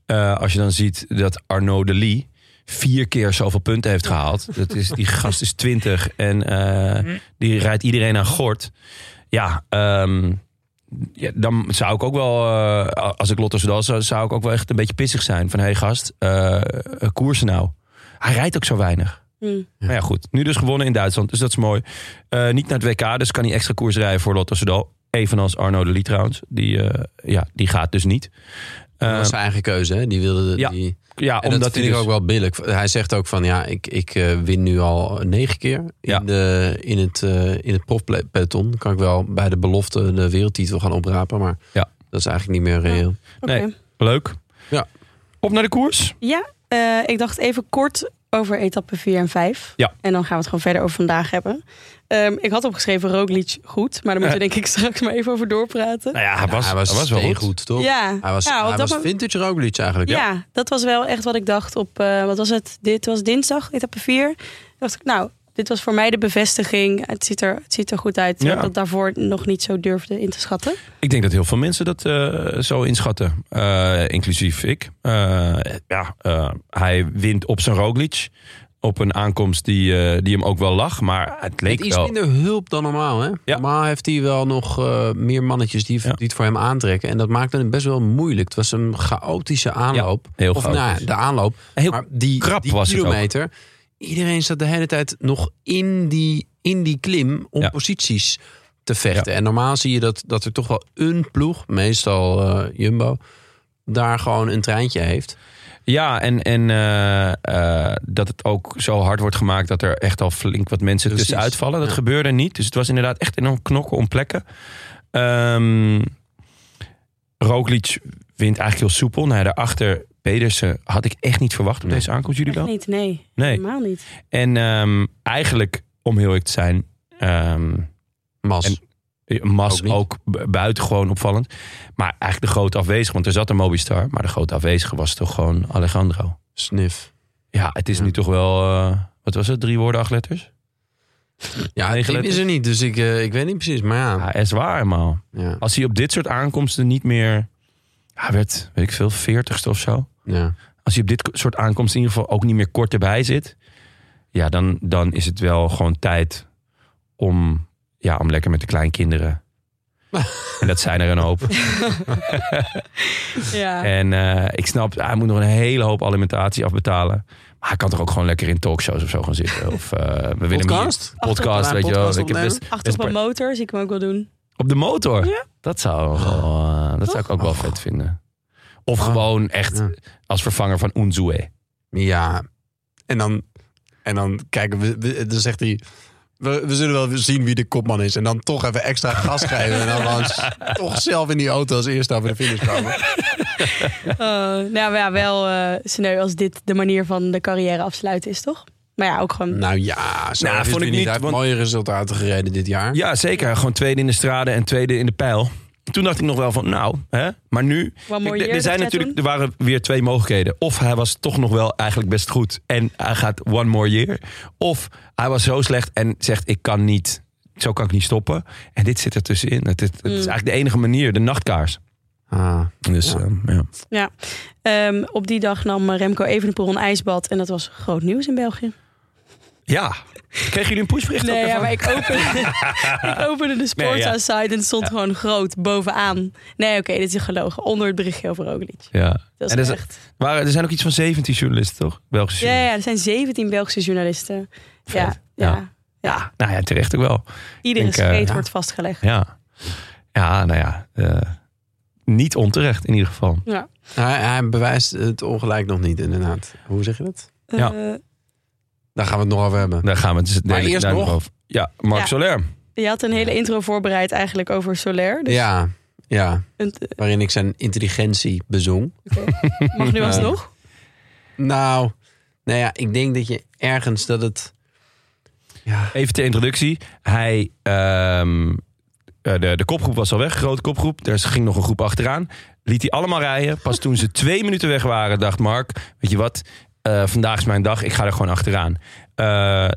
A: Eh, als je dan ziet dat Arnaud de Lee vier keer zoveel punten heeft gehaald. Dat is, die gast is 20 en eh, die rijdt iedereen aan gort. Ja, ehm, ja, dan zou ik ook wel, eh, als ik Lotto Soudal zou, zou ik ook wel echt een beetje pissig zijn. Van, hé hey gast, eh koersen nou. Hij rijdt ook zo weinig.
C: Hm.
A: Maar ja, goed. Nu dus gewonnen in Duitsland, dus dat is mooi. Eh, niet naar het WK, dus kan hij extra koers rijden voor Lotto Soudal. Evenals Arno de Lee trouwens. Die, eh, ja, die gaat dus niet.
B: Dat was
A: Eh,
B: zijn eigen keuze. Hè? Die wilde...
A: Ja.
B: Die,
A: ja,
B: en
A: omdat
B: dat vind
A: hij
B: ik
A: dus-
B: ook wel billig. Hij zegt ook van, ja, ik, ik eh, win nu al negen keer in,
A: Ja.
B: de, in het, eh in het profpeloton. Dan kan ik wel bij de belofte de wereldtitel gaan oprapen. Maar
A: Ja.
B: dat is eigenlijk niet meer reëel.
A: Nee.
C: Oké.
A: Leuk.
B: Ja. Nou
A: Op naar de koers.
C: Ja, eh, ik dacht even kort over etappe 4 en 5.
A: Ja.
C: En dan gaan we het gewoon verder over vandaag hebben. Ehm, ik had opgeschreven Roglic goed, maar daar moeten we denk ik straks maar even over doorpraten.
A: Nou ja, hij was,
B: hij
A: hij was wel goed.
B: goed, toch?
C: Ja,
B: Hij was,
C: ja, want
B: hij
C: dat
B: was
C: mo-
B: vintage Roglic eigenlijk.
C: ja. dat was wel echt wat ik dacht op, eh, wat was het? Dit was dinsdag, etappe 4. dacht ik, nou, dit was voor mij de bevestiging. Het ziet er, het ziet er goed uit.
A: Ja.
C: Ik dat daarvoor nog niet zo durfde in te schatten.
A: Ik denk dat heel veel mensen dat eh, zo inschatten. Eh, inclusief ik. Eh, ja, eh, hij wint op zijn Roglic. Op een aankomst die, eh, die hem ook wel lag. Maar het leek
B: Met iets
A: wel...
B: minder hulp dan normaal, hè?
A: Ja.
B: Normaal heeft hij wel nog eh, meer mannetjes die,
A: Ja.
B: die het voor hem aantrekken. En dat maakte het best wel moeilijk. Het was een chaotische aanloop.
A: heel
B: of
A: chaotisch.
B: nou ja, de aanloop.
A: Heel
B: maar die,
A: krap
B: die
A: was het ook.
B: kilometer. Iedereen zat de hele tijd nog in die, in die klim om
A: Ja.
B: posities te vechten. En normaal zie je dat, dat er toch wel een ploeg, meestal eh, Jumbo, daar gewoon een treintje heeft.
A: Ja, en, en eh, eh, dat het ook zo hard wordt gemaakt dat er echt al flink wat mensen
B: Precies.
A: tussenuit vallen. Dat
B: Ja.
A: gebeurde niet. Dus het was inderdaad echt enorm knokken om plekken. Ehm Roglic wint eigenlijk heel soepel. Nou, ja, daarachter Pedersen had ik echt niet verwacht op
B: Nee.
A: deze aankomst. Jullie
C: Echt
A: wel?
C: niet, nee,
A: Nee.
C: helemaal niet.
A: En ehm, eigenlijk, om heel eerlijk te zijn, ehm,
B: Mas.
A: En- Mas
B: Ook
A: ook,
B: niet.
A: bu- buitengewoon opvallend. Maar eigenlijk de grote afwezige, want er zat een Mobistar. Maar de grote afwezige was toch gewoon Alejandro.
B: Sniff.
A: Ja, het is
B: Ja.
A: nu toch wel. eh, wat was het? Drie woorden, acht letters?
B: Ja,
A: Negen
B: die is
A: letters. Ah.
B: er niet, dus ik, eh, ik weet niet precies. Maar ja,
A: Ja, is waar, man.
B: ja,
A: Als hij op dit soort aankomsten niet meer. Hij werd, weet ik veel, veertigste of zo.
B: ja.
A: Als hij op dit soort aankomsten in ieder geval ook niet meer kort erbij zit. Ja, dan, dan is het wel gewoon tijd om, ja, om lekker met de kleinkinderen. en dat zijn er een hoop.
C: Ja.
A: En eh, ik snap, hij moet nog een hele hoop alimentatie afbetalen. Maar hij kan toch ook gewoon lekker in talkshows of zo gaan zitten. Of eh, we willen hem hier-
B: Podcast?
A: podcast,
B: Achterop-
A: weet je wel.
B: podcast
A: Ik heb
B: opnemen?
A: best,
C: Achter
A: best
C: op een
A: par-
C: motor, zie ik hem ook wel doen.
A: op de motor.
C: Ja.
A: Dat, zou, wel, eh, dat zou ik ook wel vet vinden. Of gewoon echt
B: Ah. Ja.
A: als vervanger van Unzue.
B: Ja. En dan, en dan kijken we, we- dan zegt hij. We, we zullen wel zien wie de kopman is. En dan toch even extra gas geven. En dan gewoon s- toch zelf in die auto als eerste over de finish komen.
C: Eh, nou ja, wel eh sneu als dit de manier van de carrière afsluiten is, toch? Maar ja, ook gewoon...
B: Nou ja, zo
A: Nou,
B: nou,
A: vond ik
B: niet.
A: niet,
B: Hij heeft
A: want-
B: mooie resultaten gereden dit jaar.
A: Ja, zeker. Gewoon tweede in de strade en tweede in de pijl. Toen dacht ik nog wel van, nou, hè? maar nu...
C: One more
A: Kijk, er-
C: year,
A: er, zijn
C: dat
A: natuurlijk, er
C: jij
A: waren weer twee mogelijkheden. Of hij was toch nog wel eigenlijk best goed en hij gaat one more year. Of hij was zo slecht en zegt, ik kan niet, zo kan ik niet stoppen. En dit zit er tussenin. Het, het- het is
C: Mm.
A: eigenlijk de enige manier, de nachtkaars.
B: Ah,
A: Dus
B: Ja.
A: ehm, ja.
C: Ehm, op die dag nam Remco Evenepoel een ijsbad. En dat was groot nieuws in België.
A: ja. Kregen jullie een pushbericht ook
C: Nee, ja,
A: daarvan?
C: maar ik opende, ik opende de
A: Nee, ja.
C: Sportza-site en het stond gewoon groot bovenaan. Nee, oké, dit is gelogen. Onder het berichtje over Roglic.
A: Ja.
C: Dat
A: En
C: is
A: dat is-
C: echt...
A: Waren, er zijn ook iets van 17 journalisten, toch? Belgische
C: Ja,
A: journalisten.
C: ja, er zijn 17 Belgische journalisten. Ja,
A: Vet.
C: ja.
A: Ja. Nou ja, terecht ook wel.
C: Iedere
A: Ik denk, eh,
C: scheet
A: ja.
C: wordt vastgelegd.
A: Ja, ja nou ja. eh, niet onterecht in ieder geval.
B: hij, hij bewijst het ongelijk nog niet, inderdaad. Hoe zeg je dat?
A: Ja.
C: Eh,
B: Daar gaan we het nog over hebben.
A: Daar gaan we het dus
B: Maar
A: daar-
B: eerst
A: daar
B: nog.
A: over. Ja, Mark
C: Ja.
A: Soler.
C: je had een hele intro voorbereid eigenlijk over Solaire. Dus
B: Ja, ja,
C: het eh,
B: waarin ik zijn intelligentie bezong.
C: mag nu alsnog.
B: Nou, nou ja, ik denk dat je ergens dat het... Ja,
A: Even ter introductie. Hij, ehm, eh, de, de kopgroep was al weg, grote kopgroep. Er ging nog een groep achteraan. Liet hij allemaal rijden. Pas toen ze twee minuten weg waren, dacht Mark... weet je wat, eh, vandaag is mijn dag, ik ga er gewoon achteraan. Eh,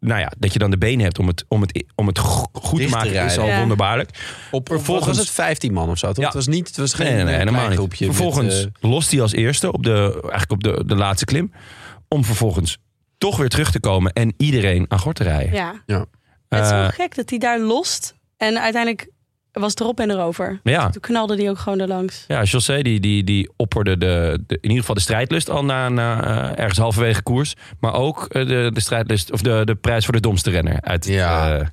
A: nou ja, dat je dan de benen hebt om het, om het, om het go- goed
B: Dicht
A: te
B: te
A: maken is
B: rijden.
A: al
C: Ja.
A: wonderbaarlijk.
B: op,
A: Vervolgens-
B: vervolgens was het 15 man of zo. toch?
A: Ja.
B: Het was niet, het was geen eh,
A: Nee, nee, nee,
B: klein
A: helemaal niet.
B: groepje. met,
A: Vervolgens
B: eh,
A: lost hij als eerste op de, eigenlijk op de, de laatste klim. Om vervolgens toch weer terug te komen en iedereen aan gort te rijden.
C: Ja. Het is
A: Eh,
C: zo gek dat hij daar lost. En uiteindelijk was het erop en erover.
A: maar ja.
C: Toen knalde hij ook gewoon erlangs.
A: Ja, José die, die, die opperde de, de- in ieder geval de strijdlust al na, na eh, ergens halverwege koers. Maar ook eh, de, de strijdlust of de, de prijs voor de domste renner. Uit,
B: Ja.
A: eh,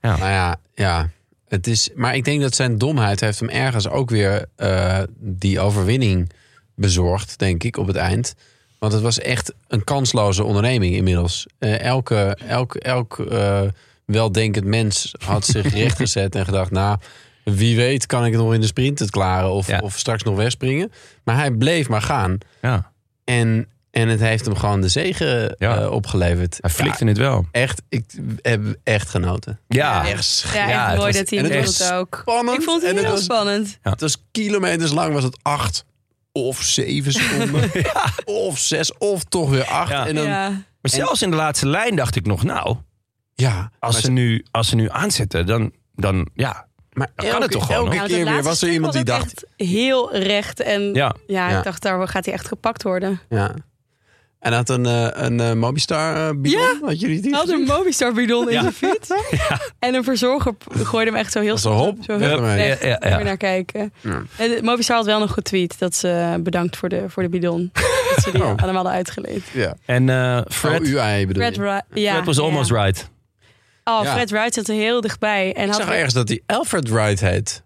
B: Nou ja, ja. Het is, maar ik denk dat zijn domheid heeft hem ergens ook weer eh, die overwinning bezorgd, denk ik, op het eind. Want het was echt een kansloze onderneming inmiddels. Eh, elke, elk elk eh, weldenkend mens had zich rechtgezet en gedacht... nou, wie weet kan ik het nog in de sprint het klaren of,
A: Ja.
B: of straks nog wegspringen. Maar hij bleef maar gaan.
A: ja,
B: En, en het heeft hem gewoon de zegen
A: Ja.
B: eh, opgeleverd.
A: hij flikte het wel.
B: Ja, echt, ik heb echt genoten.
A: Ja,
C: Ja.
B: Echt
C: Ja,
A: Ja,
C: echt
A: het
C: mooi
A: was-
C: dat hij
B: en
C: hem
B: het
C: doet
B: was
C: het ook.
B: spannend.
C: Ik vond het
B: en
C: heel
B: het was,
C: spannend.
B: het was Dus kilometers lang, was het acht of zeven seconden. Of zes, of toch weer acht.
A: Ja.
B: En dan, ja.
C: ja.
A: maar zelfs in de laatste lijn dacht ik nog, nou,
B: maar,
A: als ze nu, als ze nu aanzetten, dan, dan ja.
B: maar
A: kan
B: elke,
A: het toch gewoon,
B: elke
A: hoor?
C: Nou,
B: keer
C: dat
B: weer
C: laatste
B: was er
C: stuk
B: iemand die
C: was ook
B: dacht...
C: echt heel recht. En ja,
A: ja.
B: Ja.
C: ik dacht, daar gaat hij echt gepakt worden.
B: Ja. En had een, eh, een eh, Mobistar eh, bidon.
C: Ja.
B: Had jullie die
C: Hij had een Mobistar bidon in
A: Ja.
C: zijn fiets. En een verzorger p- gooide hem echt zo heel
B: Als een hop,
C: zo
B: weg
C: heel
B: ermee.
C: weg.
A: Ja, ja, ja.
C: Moet je naar kijken.
B: Ja.
C: En de- Movistar had wel nog getweet dat ze eh, bedankt voor de, voor de bidon. dat ze die
B: Oh.
C: aan hem hadden uitgeleend.
B: Ja.
A: En eh, Fred,
B: Fred, UI E bedoel
C: Fred
B: je.
C: Wright. Ja,
A: Fred was
C: ja.
A: almost right.
C: Oh,
B: Ja.
C: Fred Wright zat er heel dichtbij. En
B: Ik
C: had
B: zag ergens dat hij Alfred Wright heet.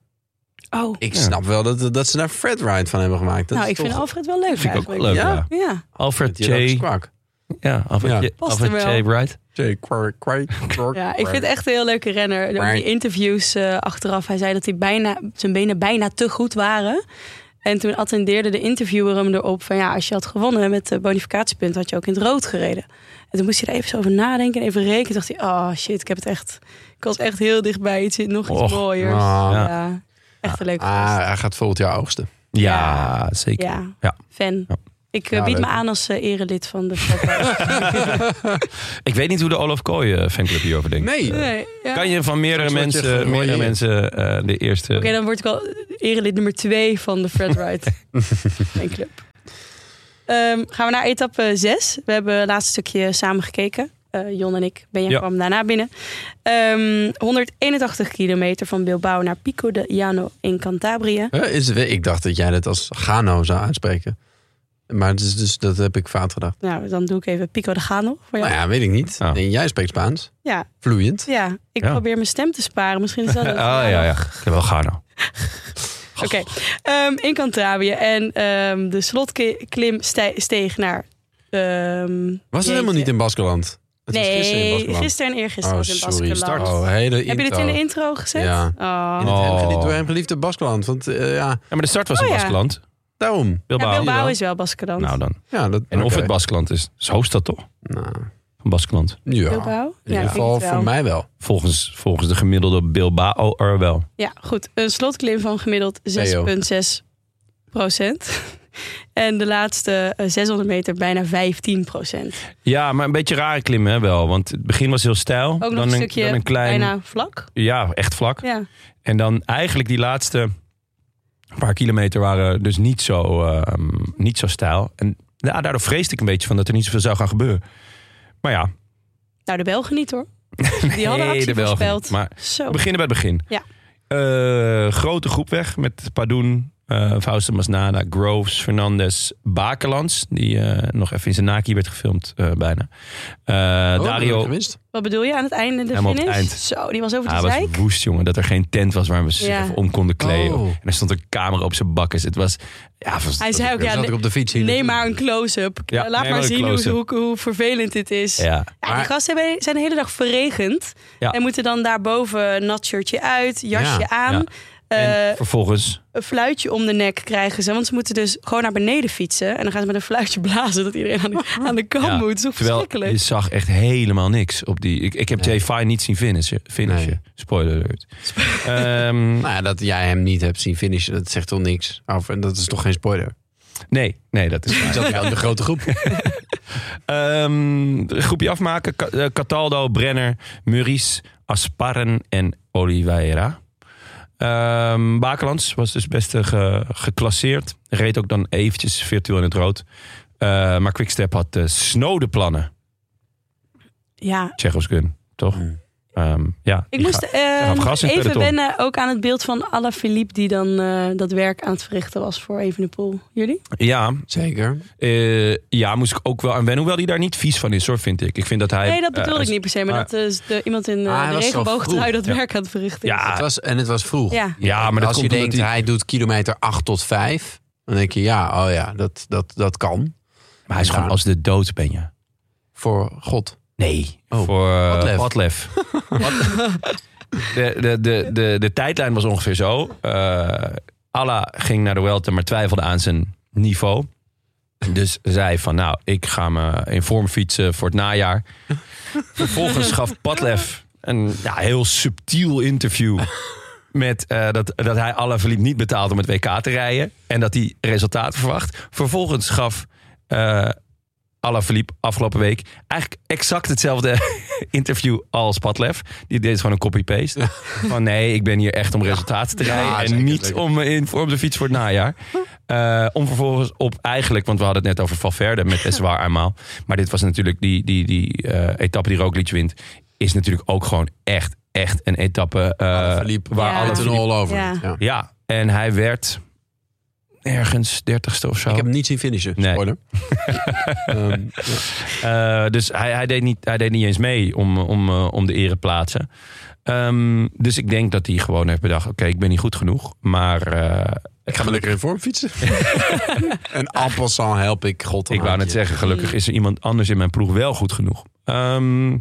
C: Oh,
B: Ik
A: Ja.
B: snap wel dat, dat ze daar Fred Wright van hebben gemaakt. Dat
C: nou,
B: is
C: ik
B: toch,
C: vind Alfred wel leuk
A: Vind ik ook
C: eigenlijk.
A: wel leuk.
B: Ja?
A: Ja.
C: Ja,
A: Alfred
B: Die had ook
A: J.
B: kwak.
A: Ja, Alfred,
B: Ja.
A: J,
C: Past
A: Alfred
C: er
A: J. Wright.
B: J. Kwak, kwak, kwak,
C: ja, ik vind het
B: kwak.
C: echt een heel leuke renner. Ook
B: Maar-
C: die interviews eh, achteraf. Hij zei dat hij bijna, zijn benen bijna te goed waren. En toen attendeerde de interviewer hem erop van... ja, als je had gewonnen met de bonificatiepunt... had je ook in het rood gereden. En toen moest hij er even zo over nadenken en even rekenen. Toen dacht hij, oh shit, ik heb het echt... Ik was echt heel dichtbij iets, nog iets
A: Och,
C: mooiers.
B: ah.
C: ja. echt een leuke gast.
B: Ah, hij gaat volgend jaar oogsten.
A: Ja, zeker.
C: Ja,
A: Ja.
C: fan.
A: Ja.
C: Ik eh,
B: Ja,
C: bied me
B: leuk.
C: aan als eh, erelid van de Fred
A: Ik weet niet hoe de Olaf Kooi eh, fanclub hierover denkt.
B: Nee.
C: Nee, ja.
A: Kan je van meerdere
B: Soms word je
A: mensen, meerdere
B: gerooieerd.
A: mensen eh, de eerste.
C: Oké, dan word ik al erelid nummer twee van de Fred Wright. Mijn club. Ehm, gaan we naar etappe 6. We hebben het laatste stukje samen gekeken. Eh, Jon en ik. Benja
A: Ja.
C: kwam daarna binnen. Ehm, 181 kilometer van Bilbao naar Pico de Llano in Cantabria.
B: Hè, Is, ik dacht dat jij dat als Gano zou uitspreken. Maar het is dus, dat heb ik fout gedacht.
C: Nou, dan doe ik even Pico de Gano voor jou.
B: Nou ja, weet ik niet.
A: Oh.
B: Nee, jij spreekt Spaans.
C: Ja,
B: Vloeiend.
C: ja, ik
A: Ja.
C: probeer mijn stem te sparen. Misschien is dat het.
A: Ah ja, ja. Wel Garno.
C: Oké, Ehm, in Cantabria. En ehm, de slotklim stij- steeg naar... ehm,
B: Was het
C: jeetje.
B: helemaal niet in Baskeland? Het was
C: nee,
B: gisteren in Baskeland.
C: gisteren en eergisteren
B: Oh,
C: was in
B: sorry.
C: Baskeland.
B: Start. Oh, hele
C: Heb je dit in de intro gezet?
B: Ja.
C: Oh.
B: In het hem
A: Oh.
B: geliefde- door hem geliefde Baskeland. Want eh, ja,
A: Ja, maar de start was
C: Oh,
A: in
C: ja.
A: Baskeland.
B: Daarom.
A: Bilbao.
C: Ja, Bilbao
B: Jawel.
C: is wel Baskeland.
A: Nou dan.
B: Ja, dat,
A: En of
B: oké.
A: het Baskeland is. Is hoofdstad toch?
B: Nou,
A: Van Baskeland.
B: ja.
C: Bilbao?
B: In ieder
C: ik denk
B: geval
C: het wel.
B: voor mij wel.
A: Volgens, volgens de gemiddelde Bilbao er wel.
C: Ja, goed. Een slotklim van gemiddeld 6,6 procent. En de laatste eh, 600 meter bijna 15 procent.
A: Ja, maar een beetje rare klimmen hè, wel. Want het begin was heel stijl.
C: Ook nog
A: dan
C: een
A: een,
C: stukje
A: dan een klein,
C: bijna vlak.
A: Ja, echt vlak.
C: Ja.
A: En dan eigenlijk die laatste paar kilometer waren dus niet zo, ehm, niet zo stijl. En ja, daardoor vreesde ik een beetje van dat er niet zoveel zou gaan gebeuren. Maar ja,
C: Nou, de Belgen niet hoor. Die hadden
A: nee,
C: actie
A: de Belgen.
C: voorspeld.
A: Maar
C: Zo.
A: we beginnen bij het begin.
C: Ja.
A: Eh, grote groep weg met Padoen, eh Fausto Masnada, Groves, Fernandes, Bakelands. Die eh, nog even in zijn naki werd gefilmd eh, bijna. Eh,
B: Oh, heb ik
A: Dario,
B: gemist.
C: Wat bedoel je aan het einde de
A: Helemaal op
C: finish?
A: het eind.
C: Zo, die was over de
A: hij Ah, was
C: zijk.
A: woest jongen. Dat er geen tent was waar we ze zich
C: Ja.
A: even om konden kleden.
B: Oh.
A: En er stond een camera op zijn bakkes. Het was... Ja, was-
C: Hij zei ook,
B: Dan
C: ja,
B: zat ik
C: ne-
B: op de fiets hier.
C: neem
B: naartoe.
C: maar een close-up.
A: Ja,
C: Eh,
A: neem
C: Laat
A: maar
C: maar
A: een
C: zien hoe,
A: close-up.
C: hoe, hoe vervelend dit is. Ja.
A: Ja.
C: die
B: Maar-
C: gasten hebben- zijn de hele dag verregend.
A: Ja.
C: En moeten dan daarboven nat shirtje uit, jasje
B: Ja,
C: aan.
A: ja.
C: eh,
A: en vervolgens...
C: een fluitje om de nek krijgen ze. Want ze moeten dus gewoon naar beneden fietsen. En dan gaan ze met een fluitje blazen dat iedereen aan de, aan de kant
A: ja,
C: moet. Zo
A: terwijl
C: verschrikkelijk.
A: je zag echt helemaal niks op die... Ik, ik heb Jay Fine niet zien finishen. finishen.
B: Nee.
A: Spoiler alert. Ehm,
B: Nou ja, dat jij hem niet hebt zien finishen, dat zegt toch niks. Of, en dat is toch geen spoiler.
A: nee, nee, dat is
B: Je
A: waar.
B: zat wel in de grote groep.
A: Ehm, groepje afmaken. Ka- eh, Cataldo, Brenner, Muris, Asparren en Oliveira. Ehm Bakelands was dus best eh, ge- geclasseerd. Reed ook dan eventjes virtueel in het rood. Eh, maar Quickstep had eh snode plannen.
C: Ja,
A: Tsjechos gun, toch?
B: Hmm.
A: Ehm, ja,
C: ik
A: die
C: moest
A: ga-
C: eh,
A: gaf gas in het
C: even
A: peloton.
C: wennen ook aan het beeld van Alaphilippe... die dan eh, dat werk aan het verrichten was voor Evenepoel. Jullie?
A: ja,
B: Zeker.
A: eh, ja, moest ik ook wel aan wennen. Hoewel hij daar niet vies van is, hoor, vind ik. Ik vind dat hij...
C: Nee, dat bedoelde
A: eh,
C: ik niet per se. Maar
A: maar-
C: dat is de, iemand in eh,
B: Ah, hij
C: de
B: was zo
C: regenboogtrui
B: vroeg.
C: dat
A: Ja.
C: werk aan het verrichten is.
A: Ja,
B: Het was, en het was vroeg.
C: Ja.
A: Ah. Ja, maar dat
B: Als je
A: komt omdat
B: denkt,
A: hij-
B: hij... doet kilometer 8 tot 5. Dan denk je, ja, oh ja, dat, dat, dat kan.
A: maar hij is gewoon
B: Ja.
A: als de dood, ben je.
B: Voor God.
A: Nee,
B: Oh,
A: voor eh,
B: Padlef.
A: Padlef. de, de, de, de, de tijdlijn was ongeveer zo. Eh Alla ging naar de Welter, maar twijfelde aan zijn niveau. Dus zei van, nou, ik ga me in vorm fietsen voor het najaar. Vervolgens gaf Padlef een ja, heel subtiel interview... Met eh, dat, dat hij alle verliep niet betaalt om het WK te rijden. En dat hij resultaat verwacht. Vervolgens gaf eh Alaphilippe afgelopen week. Eigenlijk exact hetzelfde interview als Padlef. Die deed gewoon een copy-paste. Van nee, ik ben hier echt om resultaten te rijden. en
B: zeker,
A: niet
B: zeker.
A: om eh, in vorm de fiets voor het najaar. Eh, om vervolgens op eigenlijk, want we hadden het net over Valverde met Eswaar eenmaal. Maar dit was natuurlijk die, die, die eh, etappe die Roglic wint. Is natuurlijk ook gewoon echt, echt een etappe eh,
B: Alaphilippe,
A: waar
C: Ja.
A: alle
B: Alles een all over.
C: Ja.
B: Ja.
A: ja, en hij werd ergens dertigste of zo.
B: Ik heb hem niet zien finishen.
A: Nee.
B: Spoiler. Ehm, ja.
A: Eh, dus hij, hij, deed niet, hij deed niet eens mee om, om, eh, om de ereplaatsen. Ehm dus ik denk dat hij gewoon heeft bedacht... oké, ik ben niet goed genoeg, maar... eh,
B: Ik ga me lekker in vorm fietsen. en appelsal help ik God. een
A: ik wou net
B: handje.
A: zeggen, gelukkig is er iemand anders in mijn ploeg wel goed genoeg. Ehm,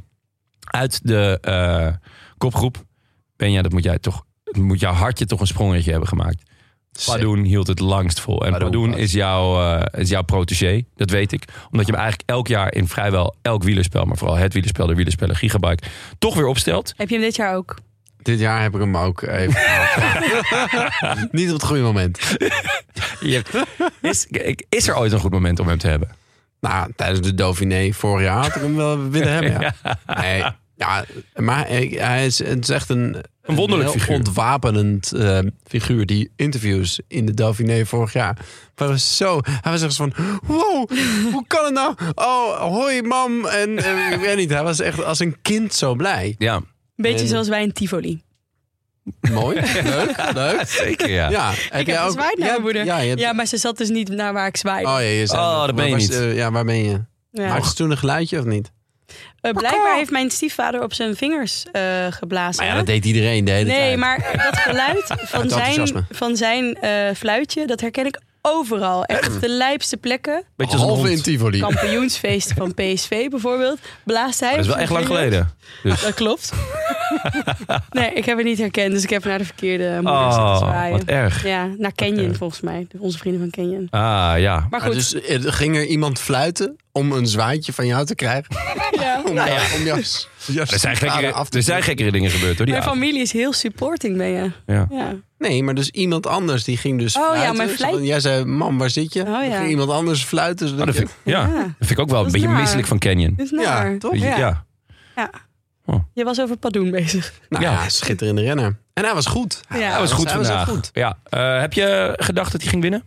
A: uit de eh, kopgroep. Benja, dat moet jij toch... Moet jouw hartje toch een sprongetje hebben gemaakt. Padoen hield het langst vol. En
B: Padoen
A: Padoen,
B: was-
A: is, jouw, eh, is jouw protégé, dat weet ik. Omdat je hem eigenlijk elk jaar in vrijwel elk wielerspel... maar vooral het wielerspel, de wielerspellen, Gigabyte... toch weer opstelt.
C: Heb je hem dit jaar ook?
B: Dit jaar heb ik hem ook even. gehaald. niet op het goede moment.
A: Je- is, is er ooit een goed moment om hem te hebben?
B: Nou, tijdens de Dauphiné vorig jaar had ik hem wel willen hebben. Ja. Nee, ja, maar hij- hij is, het is echt een,
A: Een wonderlijk
B: heel
A: figuur.
B: ontwapenend eh, figuur. Die interviews in de Dauphiné vorig jaar. waren zo, hij was echt van, wow, hoe kan het nou? Oh, hoi mam. En eh, ik weet niet, hij was echt als een kind zo blij.
A: Ja,
C: Een beetje
B: Nee.
C: zoals wij in Tivoli.
B: Mooi, leuk, leuk.
A: zeker ja.
B: Ja,
C: Ik heb gezwaaid naar
B: ja,
C: mijn moeder.
B: Ja, je hebt-
C: Ja, maar ze zat dus niet naar waar ik zwaaide.
B: Oh, ja, je zei-
A: Oh, dat ben je
B: waar was-
A: niet.
B: eh, ja, waar ben je?
C: Ja.
B: Maakte ze toen een geluidje of niet?
C: Eh, blijkbaar heeft mijn stiefvader op zijn vingers eh, geblazen.
B: Maar ja,
C: hè?
B: dat deed iedereen de hele
C: nee,
B: tijd.
C: maar dat geluid van
B: Uit
C: zijn,
B: enthousiasme.
C: van zijn eh, fluitje, dat herken ik overal. Echt de lijpste plekken.
A: Beetje als een
B: Halve in
A: hond.
B: Tivoli.
C: Kampioensfeesten van PSV bijvoorbeeld. Blaast hij.
A: Dat is wel echt lang geleden. Dus.
C: Dat klopt. nee, ik heb het niet herkend. Dus ik heb naar de verkeerde moeder zitten
A: Oh,
C: zwaaien.
A: wat erg.
C: Ja, naar Canyon
A: erg.
C: volgens mij. Onze vrienden van Canyon.
A: Ah, ja.
C: Maar
B: Maar
C: goed,
B: dus eh, ging er iemand fluiten om een zwaadje van jou te krijgen?
C: Ah, ja.
B: Om, jou, om jou, jou
A: Er zijn, gekkere,
B: af te
A: er zijn
B: trekken?
A: gekkere dingen gebeurd hoor. Die
C: mijn
A: avond.
C: familie is heel supporting ben je.
A: Ja.
C: Ja.
B: Nee, maar dus iemand anders die ging dus
C: Oh ja,
B: fluiten.
C: mijn
B: Zo
C: fluit-
B: van, Jij zei, mam, waar zit je?
C: Oh
B: Dan
C: ja.
B: ging iemand anders fluiten.
A: Oh,
B: Zodat
A: dat,
B: je-
A: vind ik, ja.
C: Ja.
A: dat vind ik ook wel
C: Dat
A: een
C: is
A: beetje
C: naar.
A: misselijk van Canyon.
C: Dus
B: Ja,
C: naar.
B: toch?
A: Ja.
C: Je was over Padoen bezig.
B: Nou
A: Ja.
B: ja, schitterende renner. En hij was goed.
C: Ja.
A: Dat was goed
B: hij was echt
A: vandaag.
B: goed.
A: Ja. Eh, heb je gedacht dat hij ging winnen?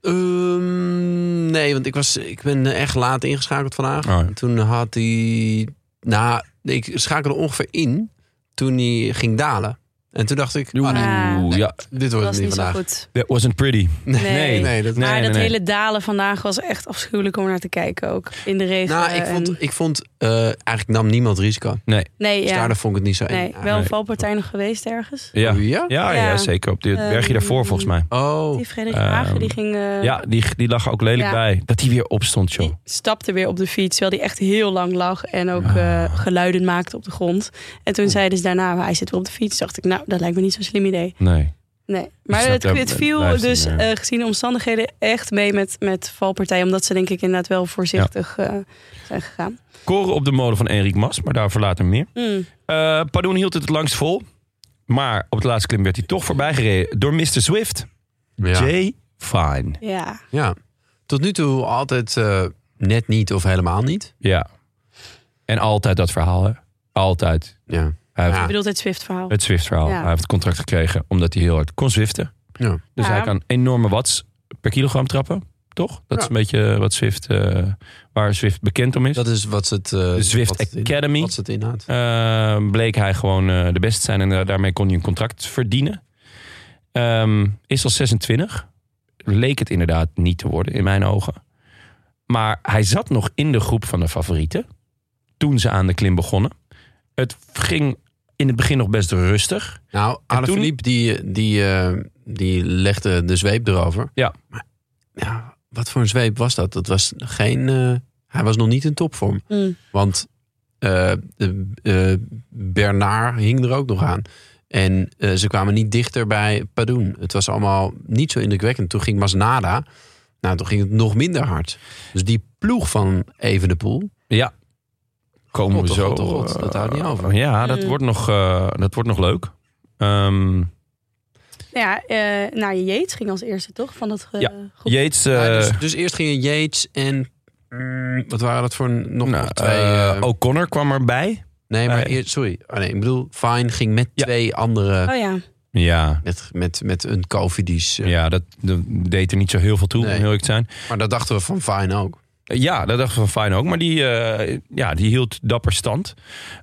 B: Ehm, nee, want ik, was, ik ben eh, echt laat ingeschakeld vandaag.
A: Oh, ja.
B: En Toen had hij... Nou, ik schakelde ongeveer in toen hij ging dalen. En toen dacht ik, ah,
C: Oh,
A: Oeh, ja.
B: dit wordt
C: Dat
B: het
C: was
B: niet
C: niet zo
B: vandaag.
C: goed.
A: That wasn't pretty.
C: Nee.
A: Nee.
B: Nee, dat,
A: Nee,
C: maar
A: nee,
C: dat
A: nee.
C: hele dalen vandaag was echt afschuwelijk om naar te kijken ook. In de regen.
B: Nou, ik
C: en-
B: vond, ik vond eh, eigenlijk nam niemand risico.
C: nee,
B: Dus
C: ja.
B: daardoor vond ik het niet zo eng.
C: nee,
B: Ah,
C: wel een
A: nee.
C: valpartij nog geweest ergens.
A: Ja.
B: oh, ja?
A: Ja, ja,
C: Ja.
A: zeker. Op dit
C: Ehm,
A: bergje daarvoor volgens mij.
B: Oh,
C: Die Frederik
A: Ehm,
C: Hagen die ging... eh,
A: Ja, die, die lag er ook lelijk
C: Ja.
A: bij. Dat hij weer opstond, joh.
C: Die stapte weer op de fiets, terwijl die echt heel lang lag en ook
A: Ah.
C: eh, geluiden maakte op de grond. En toen zeiden ze daarna, "Maar hij zit weer op de fiets. Dacht ik, nou, dat lijkt me niet zo'n slim idee.
A: Nee.
C: Nee. Maar
A: snap
C: het,
A: dat-
C: het
A: dat
C: viel
A: blijft
C: dus
A: niet, ja.
C: eh, gezien de omstandigheden echt mee met, met valpartijen. Omdat ze denk ik inderdaad wel voorzichtig eh, zijn gegaan.
A: Koren op de molen van Enric Mas, maar daarvoor later meer.
C: Mm.
A: Eh Pardon hield het het langst vol. Maar op de laatste klim werd hij toch voorbijgereden door Mr. Swift.
B: ja.
A: Jay Fine.
C: Ja.
B: ja. Tot nu toe altijd eh, net niet of helemaal niet.
A: Ja. En altijd dat verhaal, hè? Altijd.
B: Ja.
A: Hij heeft
B: Ja.
C: Ik bedoel het Zwift verhaal.
A: het Zwift-verhaal.
C: Ja.
A: Hij heeft het contract gekregen omdat hij heel hard kon zwiften.
B: Ja.
A: Dus
C: Ja.
A: hij kan enorme watts per kilogram trappen, toch? Dat is
B: Ja.
A: een beetje wat Zwift, eh, waar Zwift bekend om is.
B: Dat is wat ze het... eh,
A: de Zwift
B: wat het in-
A: Academy.
B: Wat ze het inhoudt.
A: Eh, bleek hij gewoon eh, de beste te zijn. En eh, daarmee kon hij een contract verdienen. Ehm, is al 26. Leek het inderdaad niet te worden in mijn ogen. Maar hij zat nog in de groep van de favorieten. Toen ze aan de klim begonnen. Het ging in het begin nog best rustig.
B: Nou, Alaphilippe die, die, eh, die legde de zweep erover.
A: Ja.
B: Maar ja, wat voor een zweep was dat? Dat was geen... eh, hij was nog niet in topvorm.
C: Mm.
B: Want eh, de, eh, Bernard hing er ook nog aan. En eh, ze kwamen niet dichter bij Padoen. Het was allemaal niet zo indrukwekkend. Toen ging Masnada. Nou, toen ging het nog minder hard. Dus die ploeg van Evenepoel.
A: Ja. Komen
B: God,
A: we
B: oh
A: zo.
B: God, oh God, dat houdt niet over.
A: eh, Ja, dat,
C: Mm.
A: wordt, nog, eh, dat wordt nog leuk. Ehm
C: Ja, eh nou, Jeets ging als eerste toch van dat ge-
A: Ja.
C: groep.
A: Yates. eh,
B: Ja, dus, dus eerst gingen Yates en... mm, wat waren dat voor een- nog,
A: nou,
B: nog twee?
A: eh,
B: eh,
A: O'Connor kwam erbij.
B: nee, maar
A: nee.
B: eer- sorry. Oh, nee, ik bedoel, Fine ging met
A: Ja.
B: twee andere...
C: Oh ja.
A: Ja,
B: Met, met, met een Covidies. eh.
A: Ja, dat, dat deed er niet zo heel veel toe,
B: Nee.
A: om heel eerlijk te zijn.
B: Maar dat dachten we van Fine ook.
A: Eh, Ja, dat dacht ik van Fijn ook. Maar die, eh, ja, die hield dapper stand.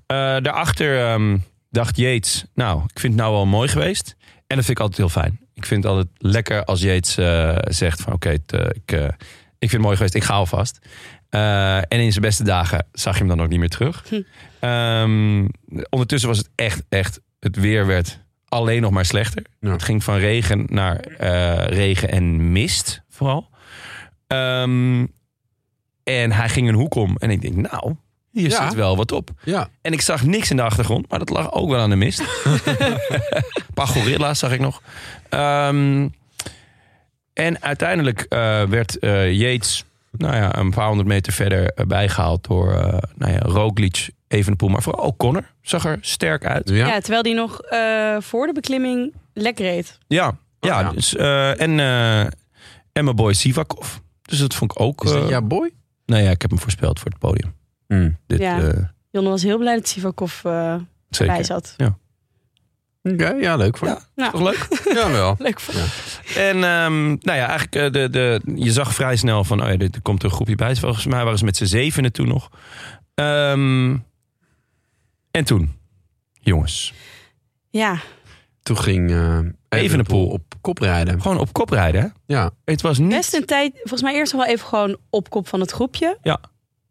A: Eh, daarachter ehm, dacht Yates, nou, ik vind het nou wel mooi geweest. En dat vind ik altijd heel fijn. Ik vind het altijd lekker als Yates eh, zegt van oké, het, eh, ik, eh, ik vind het mooi geweest, ik ga alvast. Eh, en in zijn beste dagen zag je hem dan ook niet meer terug.
C: Hm.
A: Ehm, ondertussen was het echt, echt, het weer werd alleen nog maar slechter.
B: Ja.
A: Het ging van regen naar eh, regen en mist vooral. Ehm, en hij ging een hoek om. En ik denk, nou, hier
B: Ja.
A: zit wel wat op.
B: Ja.
A: En ik zag niks in de achtergrond, maar dat lag ook wel aan de mist. Een paar gorilla's zag ik nog. Ehm, en uiteindelijk eh, werd eh Yates nou ja, een paar honderd meter verder eh, bijgehaald door eh nou ja, Roglic, Evenepoel, maar vooral O'Connor. Zag er sterk uit.
B: Ja.
C: Ja. terwijl die nog eh, voor de beklimming lek reed.
A: Ja, ja,
B: ja.
A: Dus, eh, en, eh, en mijn boy Sivakov. Dus dat vond ik ook...
B: Is
A: eh,
B: dat jouw boy?
A: Nou ja, ik heb hem voorspeld voor het podium.
B: hmm.
A: Dit,
C: Ja.
A: eh,
C: Jonne was heel blij dat Sivakov eh
A: zeker.
C: bij zat. Nou,
B: Oké, ja, leuk voor
A: Ja. Toch leuk?
B: je. Ja, wel.
C: Leuk voor
A: En ehm, nou ja, eigenlijk eh, de, de, je zag vrij snel van, oh ja, dit- er komt een groepje bij. Volgens mij waren ze met z'n zevenen toen nog. Ehm, en toen, jongens,
C: Ja,
B: Toen ging eh
A: Evenepoel.
B: Evenepoel op kop rijden.
A: gewoon op kop rijden. hè?
B: Ja,
A: Het was niet...
C: best een tijd. Volgens mij eerst nog wel even gewoon op kop van het groepje.
A: Ja.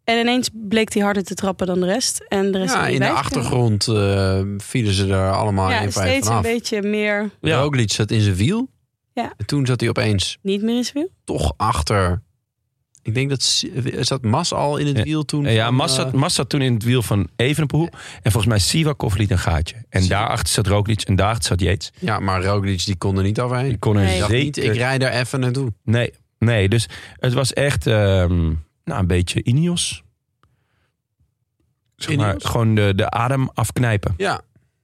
C: En ineens bleek hij harder te trappen dan de rest. En de rest
B: ja
C: ging
B: in de
C: bij.
B: achtergrond eh, vielen ze er allemaal
C: Ja,
B: één voor één
C: steeds een
B: vanaf.
C: beetje meer.
A: Ja.
B: Roglic zat in zijn wiel.
C: Ja.
B: En toen zat hij opeens
C: Niet meer in zijn wiel?
B: toch achter. Ik denk dat S- zat Mas al in het
A: Ja,
B: wiel toen.
A: Ja,
B: van,
A: Mas zat,
B: eh,
A: Mas zat toen in het wiel van Evenepoel. En volgens mij Sivakov liet een gaatje. En
B: Sivakov.
A: daarachter zat Roglic en daarachter zat Yates.
B: ja, maar Roglic die kon er niet
A: Die
B: overheen.
A: kon er
C: Nee.
B: Ik dacht niet,
A: zeker...
B: ik rij daar even naartoe.
A: Nee, nee. Dus het was echt ehm, nou, een beetje Ineos. Zeg maar,
B: Ineos?
A: gewoon de, de adem afknijpen.
B: Ja,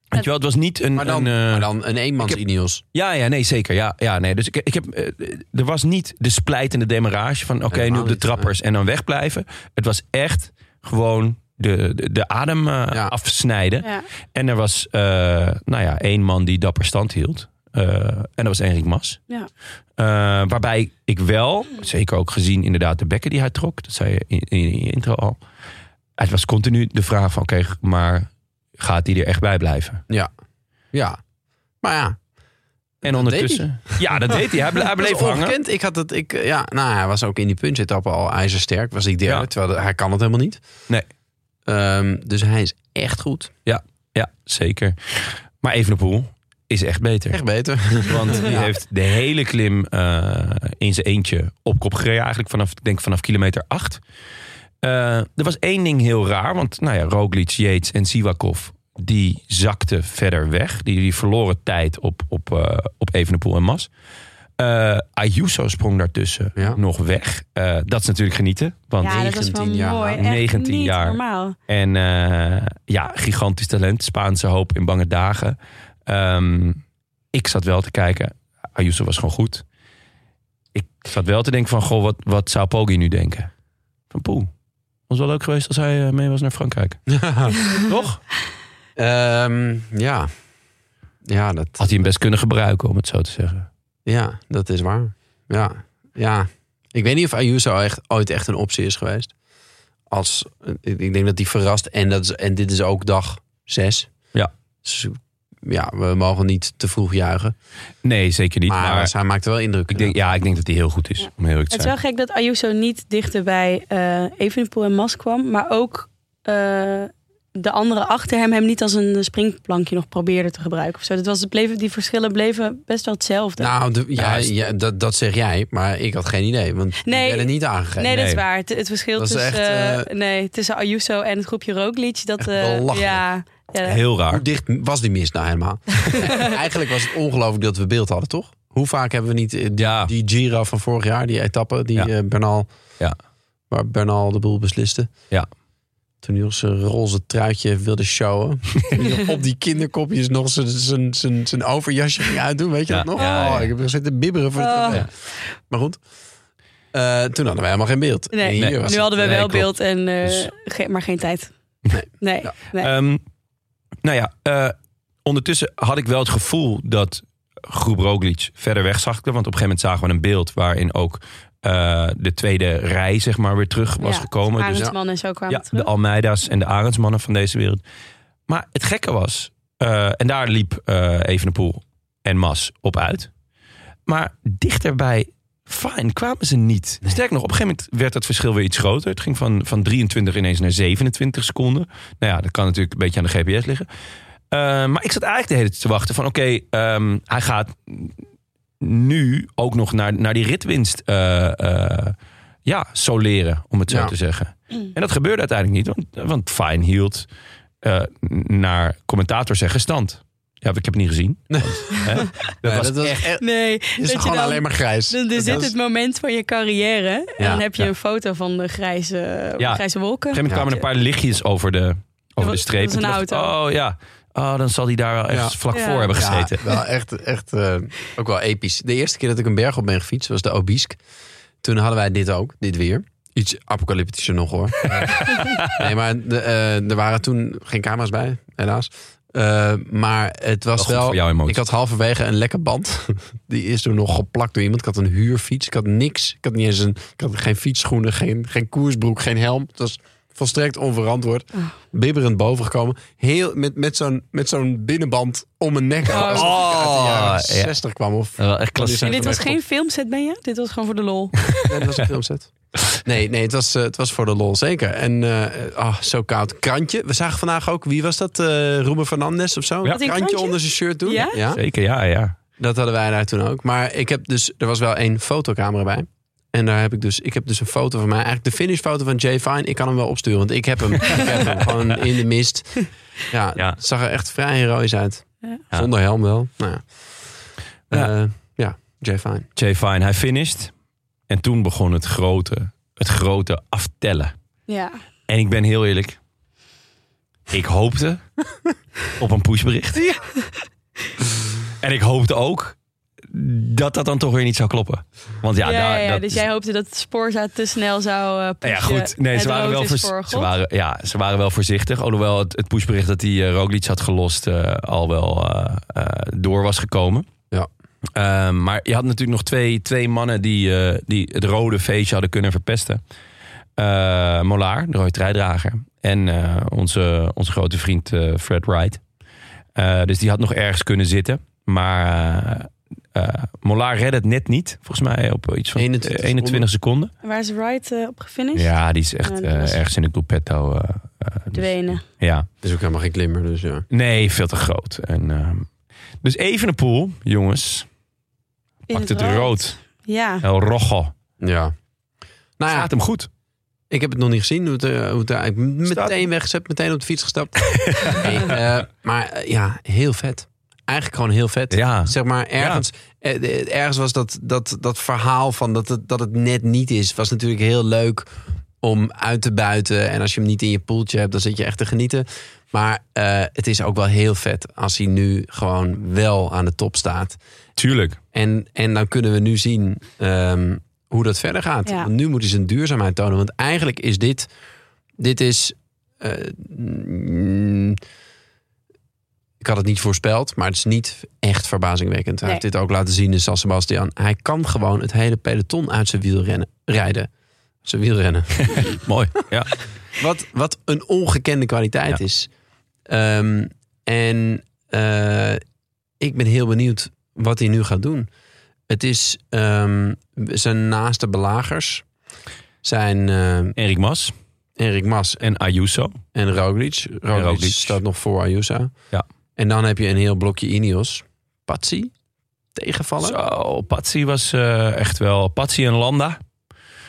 A: Weet je wel, het was niet een...
B: maar dan
A: een,
B: een,
A: eh,
B: maar dan een eenmans
A: ik heb-
B: Ineos.
A: Ja, ja, nee, zeker. Ja, ja, nee. Dus ik, ik heb, eh, er was niet de splijtende demarrage van... oké, nu
B: Helemaal
A: op de
B: niet,
A: trappers en dan wegblijven. Het was echt gewoon de, de, de adem eh,
B: Ja.
A: afsnijden.
C: Ja.
A: En er was, eh, nou ja, één man die dapper stand hield. Eh, en dat was Enrik Mas.
C: Ja.
A: Eh, waarbij ik wel, zeker ook gezien inderdaad de bekken die hij trok. Dat zei je in, in je intro al. Het was continu de vraag van, oké, maar gaat hij er echt bij blijven?
B: Ja. Maar ja,
A: En
B: Dat
A: ondertussen... Ja, dat deed hij. Hij, ble- hij
B: dat
A: bleef
B: is
A: hangen.
B: ongekend. Ik had het, ik, eh, ja, nou, hij was ook in die punchetappe al ijzersterk. Was ik derde,
A: Ja.
B: terwijl de- hij kan het helemaal niet.
A: Nee.
B: Ehm, dus hij is echt goed.
A: Ja, zeker. Maar Evenepoel is echt beter.
B: Echt beter.
A: Want die
B: Ja.
A: heeft de hele klim eh, in zijn eentje op kop gereden. Eigenlijk vanaf, ik denk vanaf kilometer 8. er was één ding heel raar. Want nou ja, Roglic, Yates en Sivakov... die zakten verder weg. Die, die verloren tijd op, op, eh, op Evenepoel en Mas. Eh Ayuso sprong daartussen
B: Ja.
A: nog weg. Eh, dat is natuurlijk genieten. Want
C: ja, dat was wel
B: 19 jaar
C: mooi.
B: oud.
C: Echt
A: 19
C: niet
A: jaar.
C: normaal.
A: En eh, ja, gigantisch talent. Spaanse hoop in bange dagen. Ehm, ik zat wel te kijken. Ayuso was gewoon goed. Ik zat wel te denken van, goh, wat, wat zou Poggi nu denken? Van poeh, was wel leuk geweest als hij eh, mee was naar Frankrijk. Toch?
B: Ehm, ja. Ja dat,
A: Had hij hem best kunnen gebruiken, om het zo te zeggen.
B: ja, dat is waar. Ja. ja. Ik weet niet of Ayuso echt, ooit echt een optie is geweest. Als, ik ik denk dat die verrast. En, dat is, en dit is ook dag zes.
A: Ja.
B: Dus, ja, we mogen niet te vroeg juichen.
A: Nee, zeker niet.
B: maar
A: Maar,
B: hij maakt wel indruk.
A: ik, denk, ja, ik denk dat hij heel goed is,
C: Ja.
A: om heel eerlijk
C: Het
A: te
C: is
A: zijn.
C: wel gek dat Ayuso niet dichter bij eh Evenepoel en Mas kwam. Maar ook eh, de anderen achter hem hem niet als een springplankje nog probeerde te gebruiken. Of zo. Dat was, het bleven, die verschillen bleven best wel hetzelfde.
B: Nou, de- ja,
A: hij is-
B: ja, dat, dat zeg jij, maar ik had geen idee. Want
C: Nee.
B: ik ben er niet aangegeven.
C: nee, dat is
A: nee.
C: waar. Het, het verschil
B: Dat is
C: tussen,
B: echt,
C: eh, nee, tussen Ayuso en het groepje Roglic. Dat,
B: Echt
C: eh,
B: belachelijk.
C: ja, ja,
A: Heel raar.
B: Hoe dicht was die mis nou helemaal? Eigenlijk was het ongelooflijk dat we beeld hadden, toch? Hoe vaak hebben we niet eh, die,
A: Ja.
B: die Giro van vorig jaar, die etappe, die
A: Ah. Ja.
B: eh, Bernal,
A: Ja.
B: waar Bernal de boel besliste?
A: Ja.
B: Toen hij zijn roze truitje wilde showen. Toen hij op die kinderkopjes nog zijn- zijn- zijn zijn overjasje ging uitdoen. Weet je
A: Ja,
B: dat nog?
A: ja, ja.
B: Oh, ik heb gezeten bibberen voor
C: Oh.
B: het Maar goed. Eh, toen hadden wij helemaal geen beeld.
C: Nee,
B: En hier
A: nee.
B: was
C: nu
B: het-
C: hadden we
A: Nee,
C: wel
A: klopt.
C: beeld, en, eh,
A: Dus-
C: ge- maar geen tijd.
B: Nee.
C: Nee.
B: Ja.
C: nee.
A: Ehm, nou ja, eh, ondertussen had ik wel het gevoel dat groep Roglic verder weg zag. Want op een gegeven moment zagen we een beeld waarin ook eh, de tweede rij zeg maar weer terug was
C: Ja,
A: gekomen. Dus
C: Arendsman en zo kwamen
A: ja,
C: terug.
A: de Almeida's en de Arendsmannen van deze wereld. Maar het gekke was, eh, en daar liep eh Evenepoel en Mas op uit. Maar dichterbij fijn kwamen ze niet. Sterker nog, op een gegeven moment werd het verschil weer iets groter. Het ging van, van 23 ineens naar 27 seconden. Nou ja, dat kan natuurlijk een beetje aan de GPS liggen. Eh, maar ik zat eigenlijk de hele tijd te wachten van... oké, ehm, hij gaat nu ook nog naar, naar die ritwinst eh, eh, ja, soleren, om het zo
B: Ja.
A: te zeggen. En dat gebeurde uiteindelijk niet, want, want Fine hield eh, naar commentator zeggen stand. Ja, ik heb het niet gezien.
B: Nee.
A: Want, hè, dat
B: Nee,
A: was
B: dat was
A: echt
B: echt.
C: Nee,
B: Het is
C: dat je
B: gewoon
C: dan-
B: alleen maar grijs.
C: dan, dan
B: Dat
C: zit
B: is-
C: het moment van je carrière. En
B: Ja,
C: dan heb je
A: ja.
C: een foto van de grijze,
A: Ja.
C: grijze wolken.
A: Op een gegeven moment kwamen er een paar lichtjes over de, over de
C: was-
A: streep.
C: dat was een
A: En toen dacht ik,
C: auto.
A: Oh ja, oh, dan zal hij daar wel echt
B: Ja.
A: vlak
C: Ja.
A: voor hebben gezeten.
B: Ja, wel echt, echt eh, ook wel episch. De eerste keer dat ik een berg op ben gefietst was de Obisk. Toen hadden wij dit ook, dit weer. Iets apocalyptischer nog hoor. nee, maar de, eh, er waren toen geen camera's bij, helaas. Eh, maar het
A: Wel
B: was
A: goed voor
B: wel...
A: jouw emotie.
B: Ik had halverwege een lekke band. Die is toen nog geplakt door iemand. Ik had een huurfiets. Ik had niks. Ik had niet eens een. Ik had geen fietsschoenen, geen, geen koersbroek, geen helm. Het was volstrekt onverantwoord. Bibberend bovengekomen. Heel met, met zo'n met zo'n binnenband om mijn nek.
C: Oh.
B: Alsof ik uit de jaren
A: Oh, ja.
B: 60 kwam. Of,
A: Wel echt
C: en
A: klassiek.
C: dit was
B: Echt
C: geen filmset, ben je? Dit was gewoon voor de lol.
B: nee, dat was een filmset. Nee, nee het, was, eh, het was voor de lol, zeker. En eh ah, zo koud. Krantje. We zagen vandaag ook, wie was dat? eh Ruben Fernandes of zo?
A: Ja.
C: Had hij een
B: Krantje
C: krantje?
B: onder zijn shirt doen.
C: Ja?
A: Zeker, ja, ja.
B: Dat hadden wij daar toen ook. Maar ik heb dus, er was wel één fotocamera bij. En daar heb ik dus, ik heb dus een foto van mij. Eigenlijk de finishfoto van Jay Fine. Ik kan hem wel opsturen, want ik heb hem. ik heb hem gewoon in de mist. Ja,
A: Ja.
B: het zag er echt vrij heroïs uit.
C: Ja.
A: Ja.
B: Zonder helm wel. Nou, ja.
A: Ja.
B: Eh, ja, Jay Fine.
A: Jay Fine, hij finished. En toen begon het grote, het grote aftellen.
C: Ja.
A: En ik ben heel eerlijk. Ik hoopte op een pushbericht. En ik hoopte ook dat dat dan toch weer niet zou kloppen. Want ja,
C: Ja, ja,
A: daar, dat
C: dus
A: is-
C: jij hoopte dat Sporza te snel zou eh
A: Nou
C: pushen.
A: ja, goed. Nee,
C: Het
A: ze waren,
C: rood
A: wel
C: is
A: voor,
C: voor
A: ze,
C: God.
A: waren, ja, ze waren wel voorzichtig. Alhoewel het, het pushbericht dat die eh, Roglic had gelost eh, al wel eh, eh, door was gekomen.
B: Ja.
A: Ehm, maar je had natuurlijk nog twee, twee mannen die, eh, die het rode feestje hadden kunnen verpesten. Eh, Molaar, de rode treidrager. En eh, onze, onze grote vriend eh, Fred Wright. Eh, dus die had nog ergens kunnen zitten. Maar eh, eh, Molaar redde het net niet. Volgens mij op iets van
B: 21
A: 21, seconden.
C: En Waar is Wright eh, op gefinished?
A: Ja, die is
C: Ja,
A: echt
C: die
A: eh,
C: was-
A: ergens in de gruppetto. eh, eh, dus-
C: Verdwenen.
A: ja,
B: Dus ook helemaal geen klimmer, dus ja.
A: nee, veel te groot. En, ehm, dus even een pool, jongens.
C: In
A: Pakt het rood.
C: Ja.
A: El Rojo.
B: Ja. Nou ja,
A: Gaat hem goed.
B: Ik heb het nog niet gezien. Hoe het, eh, hoe het, daar- ik ben
A: Staat-
B: meteen weggezet, meteen op de fiets gestapt. Nee, eh, maar eh, ja, heel vet. Eigenlijk gewoon heel vet.
A: Ja.
B: Zeg maar, ergens, eh, eh, ergens was dat, dat, dat verhaal van dat het, dat het net niet is, was natuurlijk heel leuk om uit te buiten. En als je hem niet in je poeltje hebt, dan zit je echt te genieten. Maar eh, het is ook wel heel vet als hij nu gewoon wel aan de top staat.
A: Tuurlijk.
B: En, en dan kunnen we nu zien ehm, hoe dat verder gaat.
C: Ja.
B: Want nu moet hij zijn duurzaamheid tonen. Want eigenlijk is dit... Dit is... eh, mm, ik had het niet voorspeld, maar het is niet echt verbazingwekkend. Hij
C: Nee.
B: heeft dit ook laten zien in San Sebastian. Hij kan gewoon het hele peloton uit zijn wiel rennen, rijden. Zijn wiel rennen.
A: Mooi. Ja.
B: Wat, wat een ongekende kwaliteit
A: Ja.
B: is. Ehm, en eh, ik ben heel benieuwd wat hij nu gaat doen. Het is ehm, zijn naaste belagers zijn ehm,
A: Erik Mas
B: Erik Mas
A: en Ayuso.
B: en Roglic. Roglic,
A: Roglic.
B: staat nog voor Ayuso.
A: Ja.
B: En dan heb je een heel blokje Ineos. Patsy tegenvallen.
A: Zo, Patsy was eh, echt wel... Patsy en Landa.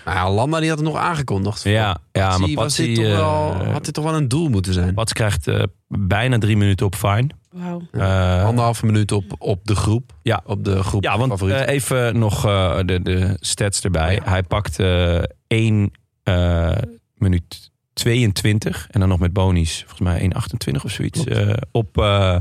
B: Nou ja, Landa die had het nog aangekondigd.
A: Ja, ja
B: Patsy,
A: maar
B: was dit
A: Patsy...
B: toch
A: eh,
B: wel, had dit toch wel een doel moeten zijn.
A: Patsy krijgt eh, bijna drie minuten op fine.
C: Wauw.
A: Eh,
B: Anderhalve minuut op, op de groep.
A: Ja.
B: Op de groep
A: Ja, want
B: favorieten.
A: eh, even nog eh, de, de stats erbij.
B: Oh ja.
A: Hij pakt eh 1 minuut 22 en dan nog met bonies, volgens mij 1,28 of zoiets. eh, op, eh,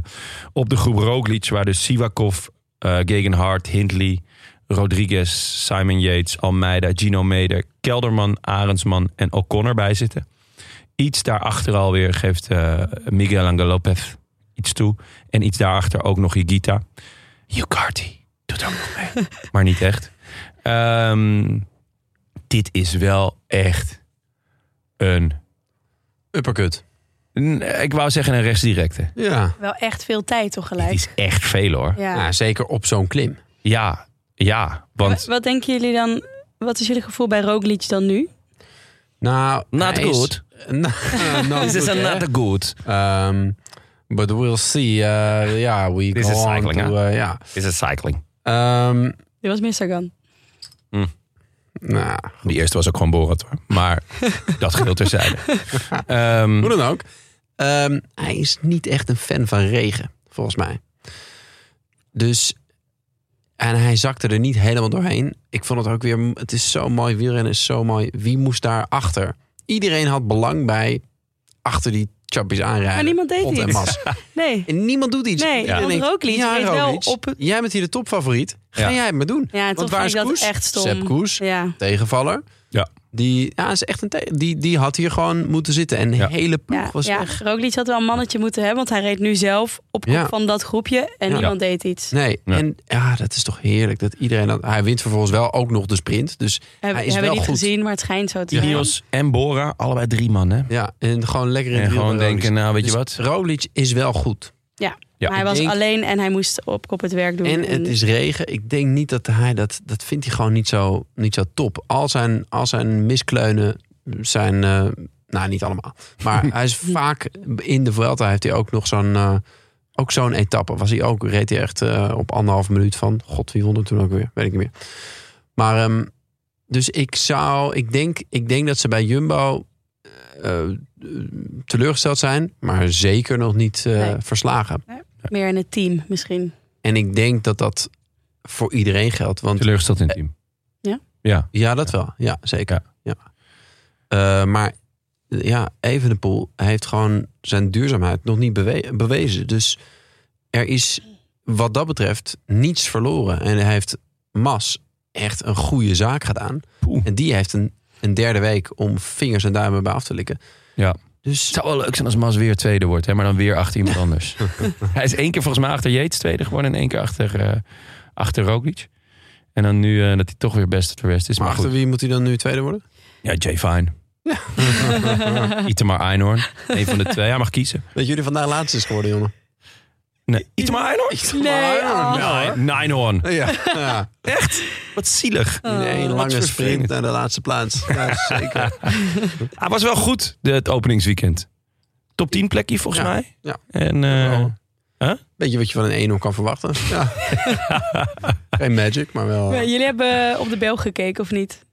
A: op de groep Roglic, waar dus Sivakov, eh Gegenhardt, Hindley, Rodriguez, Simon Yates, Almeida, Gino Meder, Kelderman, Arendsman en O'Connor bij zitten. Iets daarachter alweer geeft eh, Miguel Angel Lopez iets toe. En iets daarachter ook nog Higita. Ucarty doet er ook nog mee. maar niet echt. Ehm, dit is wel echt een...
B: Uppercut.
A: een- Ik wou zeggen een rechtsdirecte.
B: Ja.
C: Wel echt veel tijd toch
A: Dit
C: gelijk.
A: is echt veel hoor.
C: Ja.
B: Ja, zeker op zo'n klim.
A: Ja, ja. Want
C: Wa- Wat denken jullie dan? Wat is jullie gevoel bij Roglic dan nu?
B: Nou,
A: not
B: hij is-
A: good.
B: Nou, not
A: This is
B: good, hè?
A: not good.
B: Ehm, but we'll see. Eh, yeah, we
A: This
B: go
A: is
B: on
A: cycling,
B: to, eh, ja.
A: This is cycling.
B: Ehm,
C: Dit was Mistergan.
B: nou,
A: Die eerste was ook gewoon Borat hoor. Maar dat geldt terzijde. Ehm,
B: hoe dan ook. Ehm, hij is niet echt een fan van regen, volgens mij. Dus... En hij zakte er niet helemaal doorheen. Ik vond het ook weer... Het is zo mooi. Wielrennen is zo mooi. Wie moest daar achter? Iedereen had belang bij... Achter die chappies aanrijden.
C: Maar niemand deed
B: Pot en
C: iets.
B: mas.
C: Nee.
B: En niemand doet iets.
C: Nee,
B: Iedereen
C: want
B: denkt,
C: Roglic
B: ja,
C: reed wel
B: Roglic,
C: op-
B: Jij bent hier de topfavoriet. Ga
A: Ja.
B: jij het maar doen.
C: Ja, toch
B: waar
C: vind
B: is
C: ik dat
B: Koes?
C: echt stom.
B: Sepp Koes.
C: Ja.
B: Tegenvaller.
A: Ja.
B: Die, ja, is echt een te- die, die had hier gewoon moeten zitten. En de
A: Ja.
B: hele ploeg
C: Ja,
B: was
C: ja.
B: weg.
C: Roglic had wel een mannetje moeten hebben, want hij reed nu zelf op kop
B: Ja.
C: van dat groepje en
B: Ja.
C: niemand deed iets.
B: Nee,
A: Ja.
B: en ja, dat is toch heerlijk. Dat iedereen dat, hij wint vervolgens wel ook nog de sprint. Dus
C: Hebben
B: hij is
C: hebben we
B: wel
C: niet
B: goed.
C: gezien, maar het schijnt zo te zijn.
A: Ineos en Bora, allebei drie man hè.
B: ja, en gewoon lekker in
A: En
B: het wiel
A: gewoon
B: bij Roglic.
A: denken, nou weet je
B: Dus
A: wat.
B: Roglic is wel goed.
A: Ja,
C: Maar hij
B: ik
C: was
B: denk-
C: alleen en hij moest op kop het werk doen.
B: En het is regen. Ik denk niet dat hij dat. Dat vindt hij gewoon niet zo, niet zo top. Al zijn, al zijn miskleunen zijn. eh, nou, niet allemaal. Maar hij is vaak in de Vuelta. Heeft hij ook nog zo'n. eh, Ook zo'n etappe was hij ook. Reed hij echt eh, op anderhalf minuut van. God, wie won er toen ook weer? Weet ik niet meer. Maar ehm, dus ik zou, ik denk, ik denk dat ze bij Jumbo eh, eh, teleurgesteld zijn, maar zeker nog niet eh,
C: Nee.
B: verslagen.
C: Meer in het team misschien.
B: En ik denk dat dat voor iedereen geldt. Want
A: Teleurgesteld in het team.
C: Ja?
A: Ja.
B: Ja, dat wel. Ja, zeker. Ja. Eh, maar ja, Evenepoel heeft gewoon zijn duurzaamheid nog niet bewe- bewezen. Dus er is wat dat betreft niets verloren. En hij heeft Mas echt een goede zaak gedaan.
A: Poeh.
B: En die heeft een, een derde week om vingers en duimen bij af te likken.
A: Ja.
B: Dus
A: Het zou wel leuk zijn als Mas weer tweede wordt, hè, maar dan weer achter iemand anders. Hij is één keer volgens mij achter Yates tweede geworden en één keer achter, eh achter Roglic. En dan nu eh, dat hij toch weer best op de rest is.
B: maar
A: Maar,
B: achter
A: goed,
B: wie moet hij dan nu tweede worden?
A: ja, Jay Fine. Itemar Einhorn. Eén van de twee. Hij mag kiezen.
B: Dat jullie vandaag laatst is geworden, jongen.
A: Nee. Itemar Einhorn?
C: Nee, oh.
A: Nee, Nijnhoorn.
B: Ja, ja.
A: Wat zielig.
B: in één lange sprint
A: vervelend.
B: naar de laatste plaats. Ja, zeker.
A: Hij was wel goed, de, het openingsweekend. Top 10 plekje volgens
B: Ja,
A: mij.
B: ja.
A: En eh,
B: Wel. Beetje wat je van een enorm kan verwachten. Ja. Geen magic, maar wel.
C: Maar Jullie hebben op de bel gekeken of niet?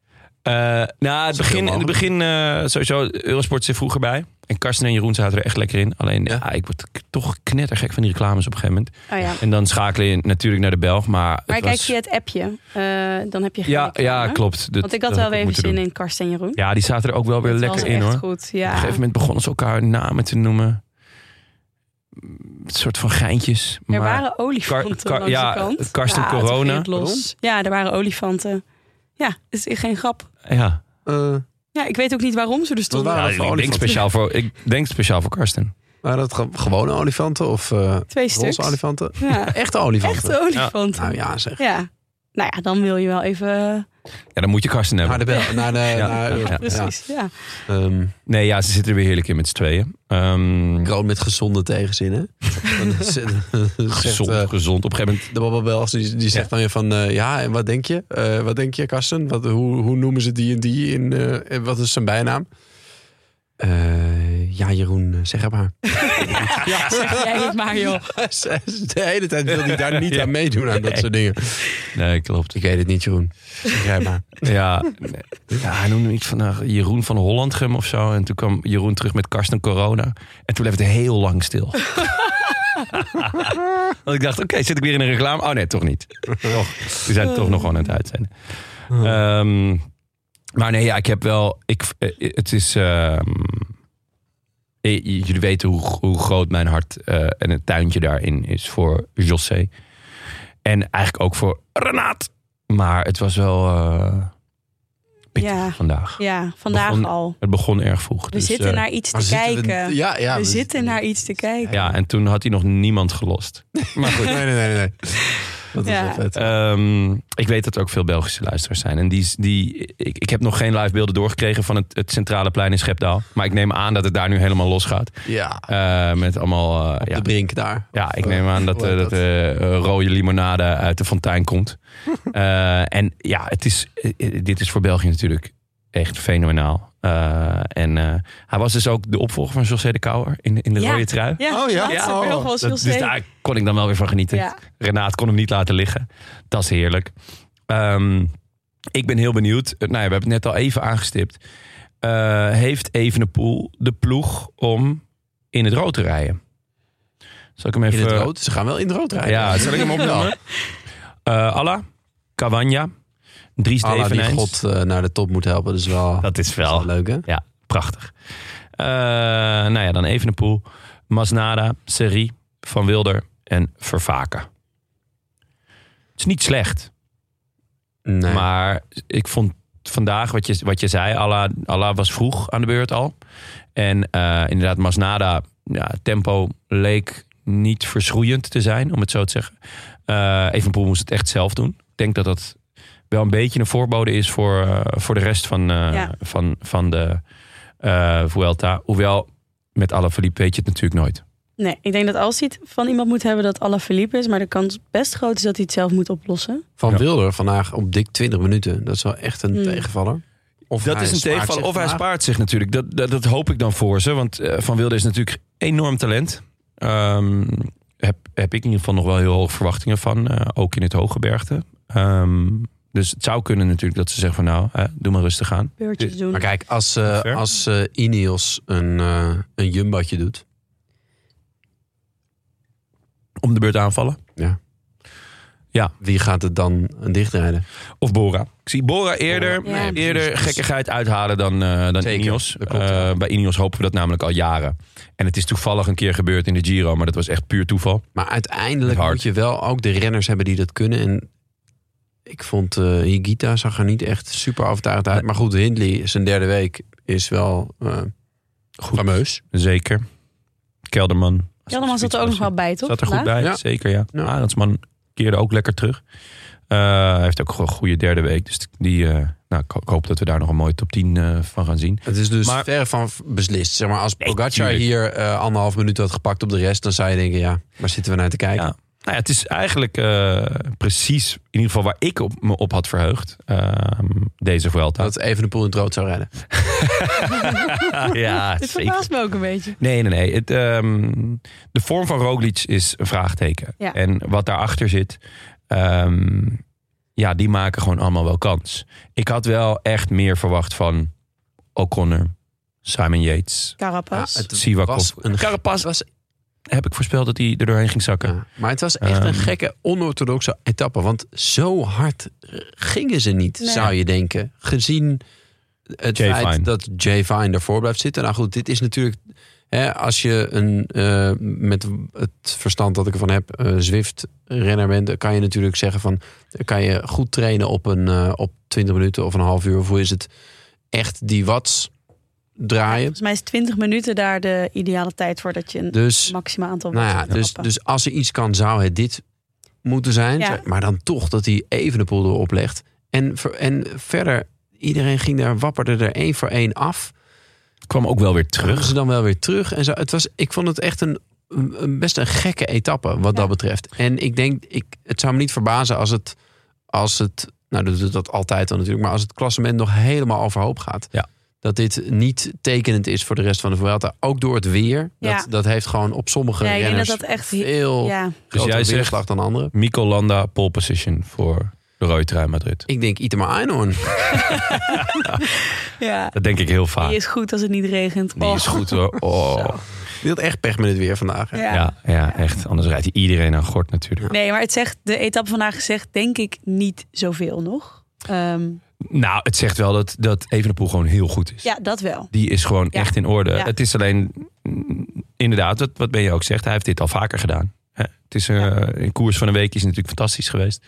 A: eh, nou, het
B: Zoveel
A: begin, het
B: mogelijk.
A: begin eh, sowieso, Eurosport zit vroeger bij. En Karsten en Jeroen zaten er echt lekker in. Alleen,
B: Ja.
A: ja. ik word k- toch knettergek van die reclames op een gegeven moment.
C: Oh ja.
A: En dan schakel je natuurlijk naar de Belg. Maar, het
C: Maar kijk
A: was-
C: je het appje, eh, dan heb je geen
A: ja,
C: reclame.
A: ja, klopt. Dat-
C: Want ik had
A: dat
C: wel
A: ik
C: weer even
A: moeten
C: zin
A: doen.
C: in Karsten en Jeroen.
A: Ja, die zaten er ook wel weer
C: Dat was
A: lekker in
C: echt
A: hoor.
C: goed,
A: Op een
C: ja.
A: gegeven moment begonnen ze elkaar namen te noemen. Mm, Een soort van geintjes.
C: Er
A: maar...
C: waren olifanten
A: Kar- kar-
C: langs
A: ja,
C: de kant.
A: Karsten
C: toen ging
A: Corona.
C: het Los. Ja, er waren olifanten. Ja, het is echt geen grap.
A: Ja.
B: Eh,
C: Ja, ik weet ook niet waarom ze er stonden.
B: waren-
A: Ja,
B: Ah,
A: ik
B: voor
A: denk
B: olifanten.
A: speciaal voor, ik denk speciaal voor Karsten.
B: waren dat ge- gewone olifanten of eh
C: Twee stuks.
B: roze olifanten?
C: Ja,
B: Echte olifanten.
C: echte olifanten.
B: Nou ja, zeg.
C: ja. Nou ja, dan wil je wel even...
A: Ja, dan moet je Karsten hebben.
B: Naar de bel. Naar de, naar,
A: ja, ja.
C: Precies, ja.
B: Ehm,
A: Nee, ja, ze zitten er weer heerlijk in met z'n tweeën. Ehm
B: Kroon met gezonde tegenzinnen.
A: gezond,
B: gezond.
A: gezond. Op een gegeven moment,
B: de babbelbels die, die zegt dan weer van... eh, ja, en wat denk je? Eh, wat denk je, Karsten? Wat, hoe, hoe noemen ze die en die? In, eh, en wat is zijn bijnaam? Eh, ja, Jeroen, eh, zeg het maar. ja,
C: Zeg jij het maar, joh.
B: De hele tijd wil hij daar niet aan meedoen aan dat
A: Nee.
B: soort dingen.
A: nee, klopt.
B: Ik weet het niet, Jeroen. Begrijp maar.
A: Ja, nee. ja hij noemde iets van eh, Jeroen van Hollandgem of zo. En toen kwam Jeroen terug met Karsten Corona. En toen bleef het heel lang stil. Want ik dacht, oké, zit ik weer in een reclame? Oh nee, toch niet. Toch. We zijn toch nog gewoon aan het uitzenden.
B: Eh, Oh.
A: Ehm, maar nee, ja, ik heb wel... Ik, eh, het is... ehm, eh, j- jullie weten hoe, hoe groot mijn hart eh, en het tuintje daarin is voor José. En eigenlijk ook voor Renaat. Maar het was wel eh pittig
C: Ja.
A: vandaag.
C: Ja, vandaag
A: Begon-
C: al.
A: Het begon erg vroeg.
C: We
A: dus,
C: zitten
A: eh,
C: naar iets
B: Maar
C: te
B: zitten we-
C: kijken.
B: ja, ja,
C: we zitten naar iets te kijken.
A: Ja, en toen had hij nog niemand gelost. Maar goed.
B: Nee, nee, nee, nee. Dat is
C: Ja.
B: wel vet.
A: Ehm, ik weet dat er ook veel Belgische luisteraars zijn. En die, die, ik, ik heb nog geen live beelden doorgekregen van het, het centrale plein in Schepdaal. Maar ik neem aan dat het daar nu helemaal los gaat.
B: ja,
A: Eh, met allemaal. eh, ja.
B: de brink daar.
A: Ja, ik neem aan dat,
B: Hoe
A: eh,
B: heet
A: dat
B: dat?
A: eh, rode limonade uit de fontein komt. Eh, en ja, het is, eh, eh, dit is voor België natuurlijk echt fenomenaal. Eh, en eh, hij was dus ook de opvolger van José de Kouwer in, in de
C: Ja.
A: rode trui.
C: Ja,
B: Oh ja?
C: dat
B: Ja,
C: nog
B: oh,
C: wel eens
A: Dat-
C: heel
A: dus
C: steek.
A: daar kon ik dan wel weer van genieten.
C: Ja.
A: Renaat kon hem niet laten liggen. Dat is heerlijk. Ehm, ik ben heel benieuwd. Eh, Nou ja, we hebben het net al even aangestipt. Eh, heeft Evenepoel de ploeg om in het rood te rijden? Zal ik hem
B: In
A: even...
B: het rood. Ze gaan wel in het rood rijden.
A: Ja, zal ik hem opnoemen? Eh Alla, Cavagna, Dries
B: Allah die
A: Devenijns.
B: God eh, naar de top moet helpen. Dat is wel, dat
A: Dat is
B: is
A: wel
B: wel leuk, hè?
A: prachtig. Eh, nou ja, dan Evenepoel, Masnada, Serie, Van Wilder en Vervaken. Het is niet slecht.
B: Nee.
A: Maar ik vond vandaag wat je, wat je zei, Allah, Allah was vroeg aan de beurt al. En eh, inderdaad, Masnada, ja, tempo leek niet verschroeiend te zijn, om het zo te zeggen. Eh Evenpoel moest het echt zelf doen. Ik denk dat dat wel een beetje een voorbode is voor, eh, voor de rest van, eh,
C: Ja.
A: van, van de eh Vuelta. Hoewel, met alle Philippe weet je het natuurlijk nooit.
C: Nee, ik denk dat als hij het van iemand moet hebben dat Alaphilippe is, maar de kans best groot is dat hij het zelf moet oplossen.
B: Van
A: Ja.
B: Wilder vandaag op dik 20 minuten. Dat is wel echt een
C: Hmm.
B: tegenvaller. Of
A: Dat
B: hij
A: is een
B: spaart
A: tegenvaller.
B: zich
A: Of hij
B: vandaag.
A: spaart zich natuurlijk. Dat, dat, dat hoop ik dan voor ze. Want eh, Van Wilde is natuurlijk enorm talent. Ehm, heb, heb ik in ieder geval nog wel heel hoge verwachtingen van. eh, ook in het hoge bergte. Ehm, dus het zou kunnen natuurlijk dat ze zeggen van nou, hè, doe maar rustig aan.
C: Beurtjes doen.
B: Maar kijk, als, eh,
A: Fair.
B: als eh, Ineos een, eh een jumbatje doet.
A: Om de beurt aanvallen.
B: Wie gaat het dan dichtrijden?
A: Of Bora. Ik zie Bora eerder,
C: Bora. Ja,
A: eerder
B: precies.
A: gekkigheid uithalen dan, eh, dan
B: Zeker,
A: Ineos.
B: dat klopt,
A: Eh,
B: ja.
A: bij Ineos hopen we dat namelijk al jaren. En het is toevallig een keer gebeurd in de Giro, maar dat was echt puur toeval.
B: Maar uiteindelijk
A: Hard.
B: moet je wel ook de renners hebben die dat kunnen. En ik vond eh, Higita zag er niet echt super overtuigd uit. Maar goed, Hindley, zijn derde week is wel eh
A: Goed.
B: fameus.
A: Zeker. Kelderman.
C: Kelderman zat er ook nog wel bij, toch?
A: Zat er goed
C: vandaag?
A: bij,
B: Ja.
A: zeker ja.
B: Ja.
A: Arendsman keerde ook lekker terug. Eh, hij heeft ook gewoon een goede derde week. Dus die, eh, nou, ik ho- ik hoop dat we daar nog een mooie top 10 eh, van gaan zien.
B: Het is dus
A: Maar-
B: verre van v- beslist. Zeg maar, als Pogacar
A: tuurlijk.
B: hier eh, anderhalf minuut had gepakt op de rest... dan zou je denken, ja, waar zitten we naar te kijken?
A: Ja. Nou ja, het is eigenlijk eh, precies in ieder geval waar ik op, me op had verheugd. ehm, deze Vuelta.
B: Dat even de poel in het rood zou redden.
A: ja,
C: Dit verbaast me ook een beetje.
A: Nee, nee, nee. Het, ehm, de vorm van Roglic is een vraagteken.
C: Ja.
A: En wat daarachter zit, ehm, ja, die maken gewoon allemaal wel kans. Ik had wel echt meer verwacht van O'Connor, Simon Yates.
C: Carapas.
B: Ja, het
A: Sivakov.
B: was een
A: Carapaz was, heb ik voorspeld dat hij er doorheen ging zakken.
B: Ja, maar het was echt een
A: Ehm.
B: gekke, onorthodoxe etappe. Want zo hard eh, gingen ze niet,
C: Nee.
B: zou je denken. Gezien het
A: Jay
B: feit
A: Vine.
B: dat Jay Vine ervoor blijft zitten. Nou goed, dit is natuurlijk... Hè, als je een, eh, met het verstand dat ik ervan heb, eh Zwift-renner bent... dan kan je natuurlijk zeggen van... dan kan je goed trainen op, een, eh, op 20 minuten of een half uur. Of hoe is het echt die watts draaien.
C: Volgens mij is 20 minuten daar de ideale tijd voor dat je een
B: Dus
C: maximaal aantal
B: nou ja,
C: mensen kan
B: dus,
C: trappen.
B: dus als er iets kan, zou het dit moeten zijn.
C: Ja.
B: Zeg- Maar dan toch dat hij even de poel erop legt. En, ver- en verder, iedereen ging daar, wapperde er één voor één af.
A: Kwam ook wel weer
B: Kwamen
A: terug.
B: ze dan wel weer terug. En zo. Het was, ik vond het echt een, een- een best een gekke etappe wat
C: Ja.
B: dat betreft. En ik denk, ik, het zou me niet verbazen als het, als het, nou dat doet dat altijd dan natuurlijk, maar als het klassement nog helemaal overhoop gaat.
A: Ja.
B: Dat dit niet tekenend is voor de rest van de Vuelta. Ook door het weer.
C: Ja.
B: Dat, dat heeft gewoon op sommige
C: Ja, ik denk dat
B: renners
C: dat echt...
B: veel
C: Ja,
A: Dus jij zegt
B: weerslag dan anderen.
A: Mico Landa pole position voor de rode trui Madrid.
B: Ik denk Itema Einhorn.
C: ja.
A: Dat denk ik heel vaak.
C: Die is goed als het niet regent.
A: Die
C: Och.
A: is goed hoor. Oh.
C: Zo.
B: Die had echt pech met het weer vandaag. hè?
C: Ja.
A: Ja, ja, echt. Anders rijdt hij iedereen aan gort natuurlijk.
C: Nee, maar het zegt, de etappe vandaag zegt denk ik niet zoveel nog. Ehm,
A: Nou, het zegt wel dat, dat Evenepoel gewoon heel goed is.
C: ja, dat wel.
A: Die is gewoon
C: Ja.
A: echt in orde.
C: Ja.
A: Het is alleen, mm, inderdaad, wat, wat ben je ook zegt, hij heeft dit al vaker gedaan. Hè? Het is eh, in koers van een week is hij natuurlijk fantastisch geweest.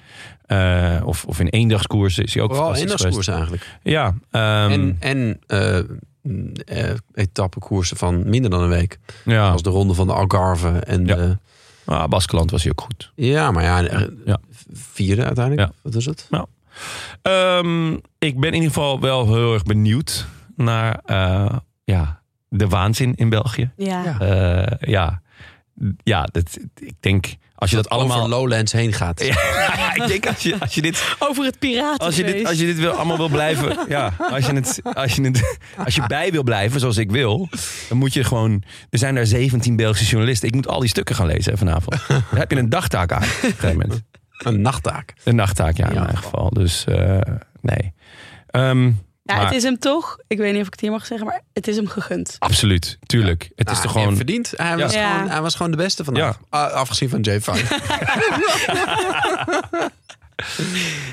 A: Eh, of, of in ééndagskoers is hij ook
B: Vooral
A: fantastisch
B: eendagskoers
A: geweest.
B: eigenlijk.
A: Ja, ehm,
B: en en eh, mm, eh, etappekoersen van minder dan een week.
A: ja.
B: Als de ronde van de Algarve. En
A: Nou. Ja.
B: ja,
A: Ah, Baskeland was hij ook goed.
B: ja maar ja, eh,
A: Ja.
B: vierde uiteindelijk.
A: Ja.
B: Wat is het?
A: Ehm, ik ben in ieder geval wel heel erg benieuwd naar eh, ja, de waanzin in België.
C: Ja.
B: Ja.
A: Eh, ja, ja dat, ik denk als je dat allemaal...
B: Over Lowlands heen gaat.
A: Ja, ik denk als je, als je dit
C: Over het piratenfeest.
A: Als je dit, als je dit wil, allemaal wil blijven. Ja, als je, het, als, je het, als je bij wil blijven, zoals ik wil. Dan moet je gewoon. Er zijn daar 17 Belgische journalisten. Ik moet al die stukken gaan lezen hè, vanavond. Daar heb je een dagtaak aan. Op een gegeven moment.
B: Een nachttaak.
A: Een nachttaak, ja, in
B: Ja.
A: mijn geval. Dus eh, nee. Ehm,
C: ja,
A: maar
C: het is hem toch, ik weet niet of ik het hier mag zeggen, maar het is hem gegund.
A: absoluut, tuurlijk. Het is
B: Nou,
A: toch
B: en
A: gewoon.
B: verdiend. Hij, was
C: Ja.
B: gewoon, hij was gewoon de beste vandaag. Ah, afgezien van Jay Vine.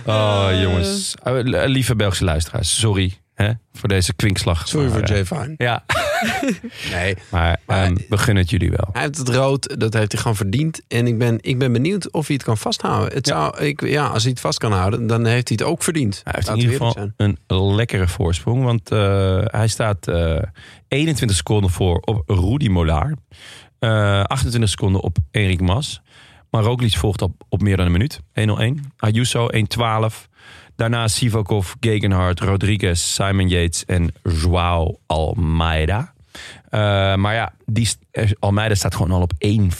A: Oh, jongens. Eh, Lieve Belgische luisteraars, sorry hè, voor deze kwinkslag.
B: Sorry
A: Maar,
B: voor
A: eh,
B: Jay Vine.
A: Ja,
B: Nee,
A: maar
B: Maar-
A: ehm, we gunnen het jullie wel.
B: Hij heeft het rood, dat heeft hij gewoon verdiend. En ik ben, ik ben benieuwd of hij het kan vasthouden. Het zou, ik, ja, als hij het vast kan houden, dan heeft hij het ook verdiend.
A: Hij heeft in
B: Laten we
A: ieder geval
B: eerlijk
A: een lekkere voorsprong. Want eh, hij staat eh, 21 seconden voor op Rudy Molaar. Eh, 28 seconden op Erik Mas. Maar Roglic volgt op, op meer dan een minuut. 1-0-1. Ayuso 1-12. Daarna Sivakov, Gegenhardt, Rodriguez, Simon Yates en Joao Almeida. Eh, maar ja, die, st- eh, Almeida staat gewoon al op 1,54.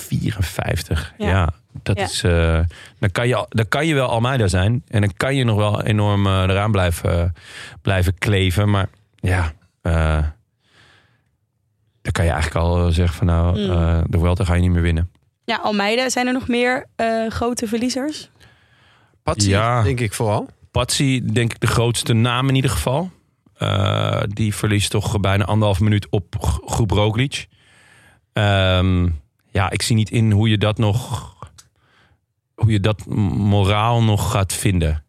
A: Ja.
C: Ja.
A: dat
C: Ja.
A: is. eh, dan, kan je, al- dan kan je wel Almeida zijn. En dan kan je nog wel enorm eh, eraan blijven, blijven kleven. Maar ja, eh, dan kan je eigenlijk al eh, zeggen van nou,
C: Mm.
A: eh, de Vuelta ga je niet meer winnen.
C: Ja, Almeida, zijn er nog meer eh, grote verliezers?
B: Patsy,
A: Ja.
B: denk ik vooral.
A: Patsy, denk ik de grootste naam in ieder geval. Eh, die verliest toch bijna anderhalf minuut op g- groep Roglic. Ehm, ja, ik zie niet in hoe je dat nog... Hoe je dat m- moraal nog gaat vinden.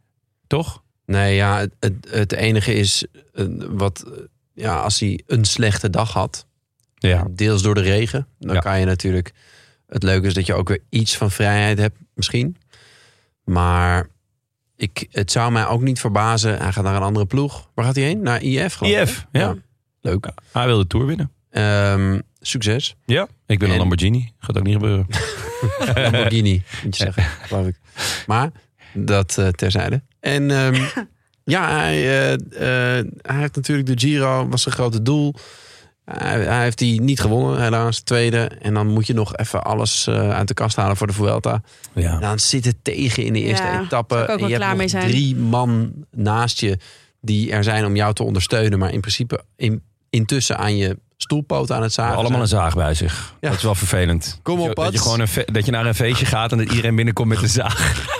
A: Toch?
B: Nee, ja, het, het, het enige is eh, wat... eh, Ja, als hij een slechte dag had,
A: Ja.
B: deels door de regen, dan
A: Ja.
B: kan je natuurlijk... Het leuke is dat je ook weer iets van vrijheid hebt, misschien. Maar ik, het zou mij ook niet verbazen. Hij gaat naar een andere ploeg. Waar gaat hij heen? Naar IF, geloof ik.
A: IF, ja.
B: Leuk.
A: Hij wil de Tour winnen.
B: Ehm, succes.
A: Ja. Ik ben
B: En-
A: een Lamborghini. Gaat ook niet gebeuren.
B: Lamborghini, moet je zeggen, geloof ik. Maar dat eh, terzijde. En ehm, ja, hij, eh, eh, hij heeft natuurlijk de Giro, was zijn grote doel. Hij, hij heeft die niet gewonnen, helaas, tweede. En dan moet je nog even alles eh, uit de kast halen voor de Vuelta.
A: Ja.
B: Dan zit het tegen in de eerste
C: Ja,
B: etappe.
C: zou ik ook
B: En
C: wel
B: je
C: klaar
B: hebt
C: mee
B: nog
C: zijn.
B: drie man naast je die er zijn om jou te ondersteunen. Maar in principe in, intussen aan je stoelpoot aan het zagen.
A: Allemaal
B: zijn.
A: een zaag bij zich.
B: Ja.
A: Dat is wel vervelend.
B: Kom
A: Dat je-
B: op,
A: dat je,
B: Pats.
A: gewoon een fe- dat je naar een feestje gaat en dat iedereen binnenkomt met een zaag.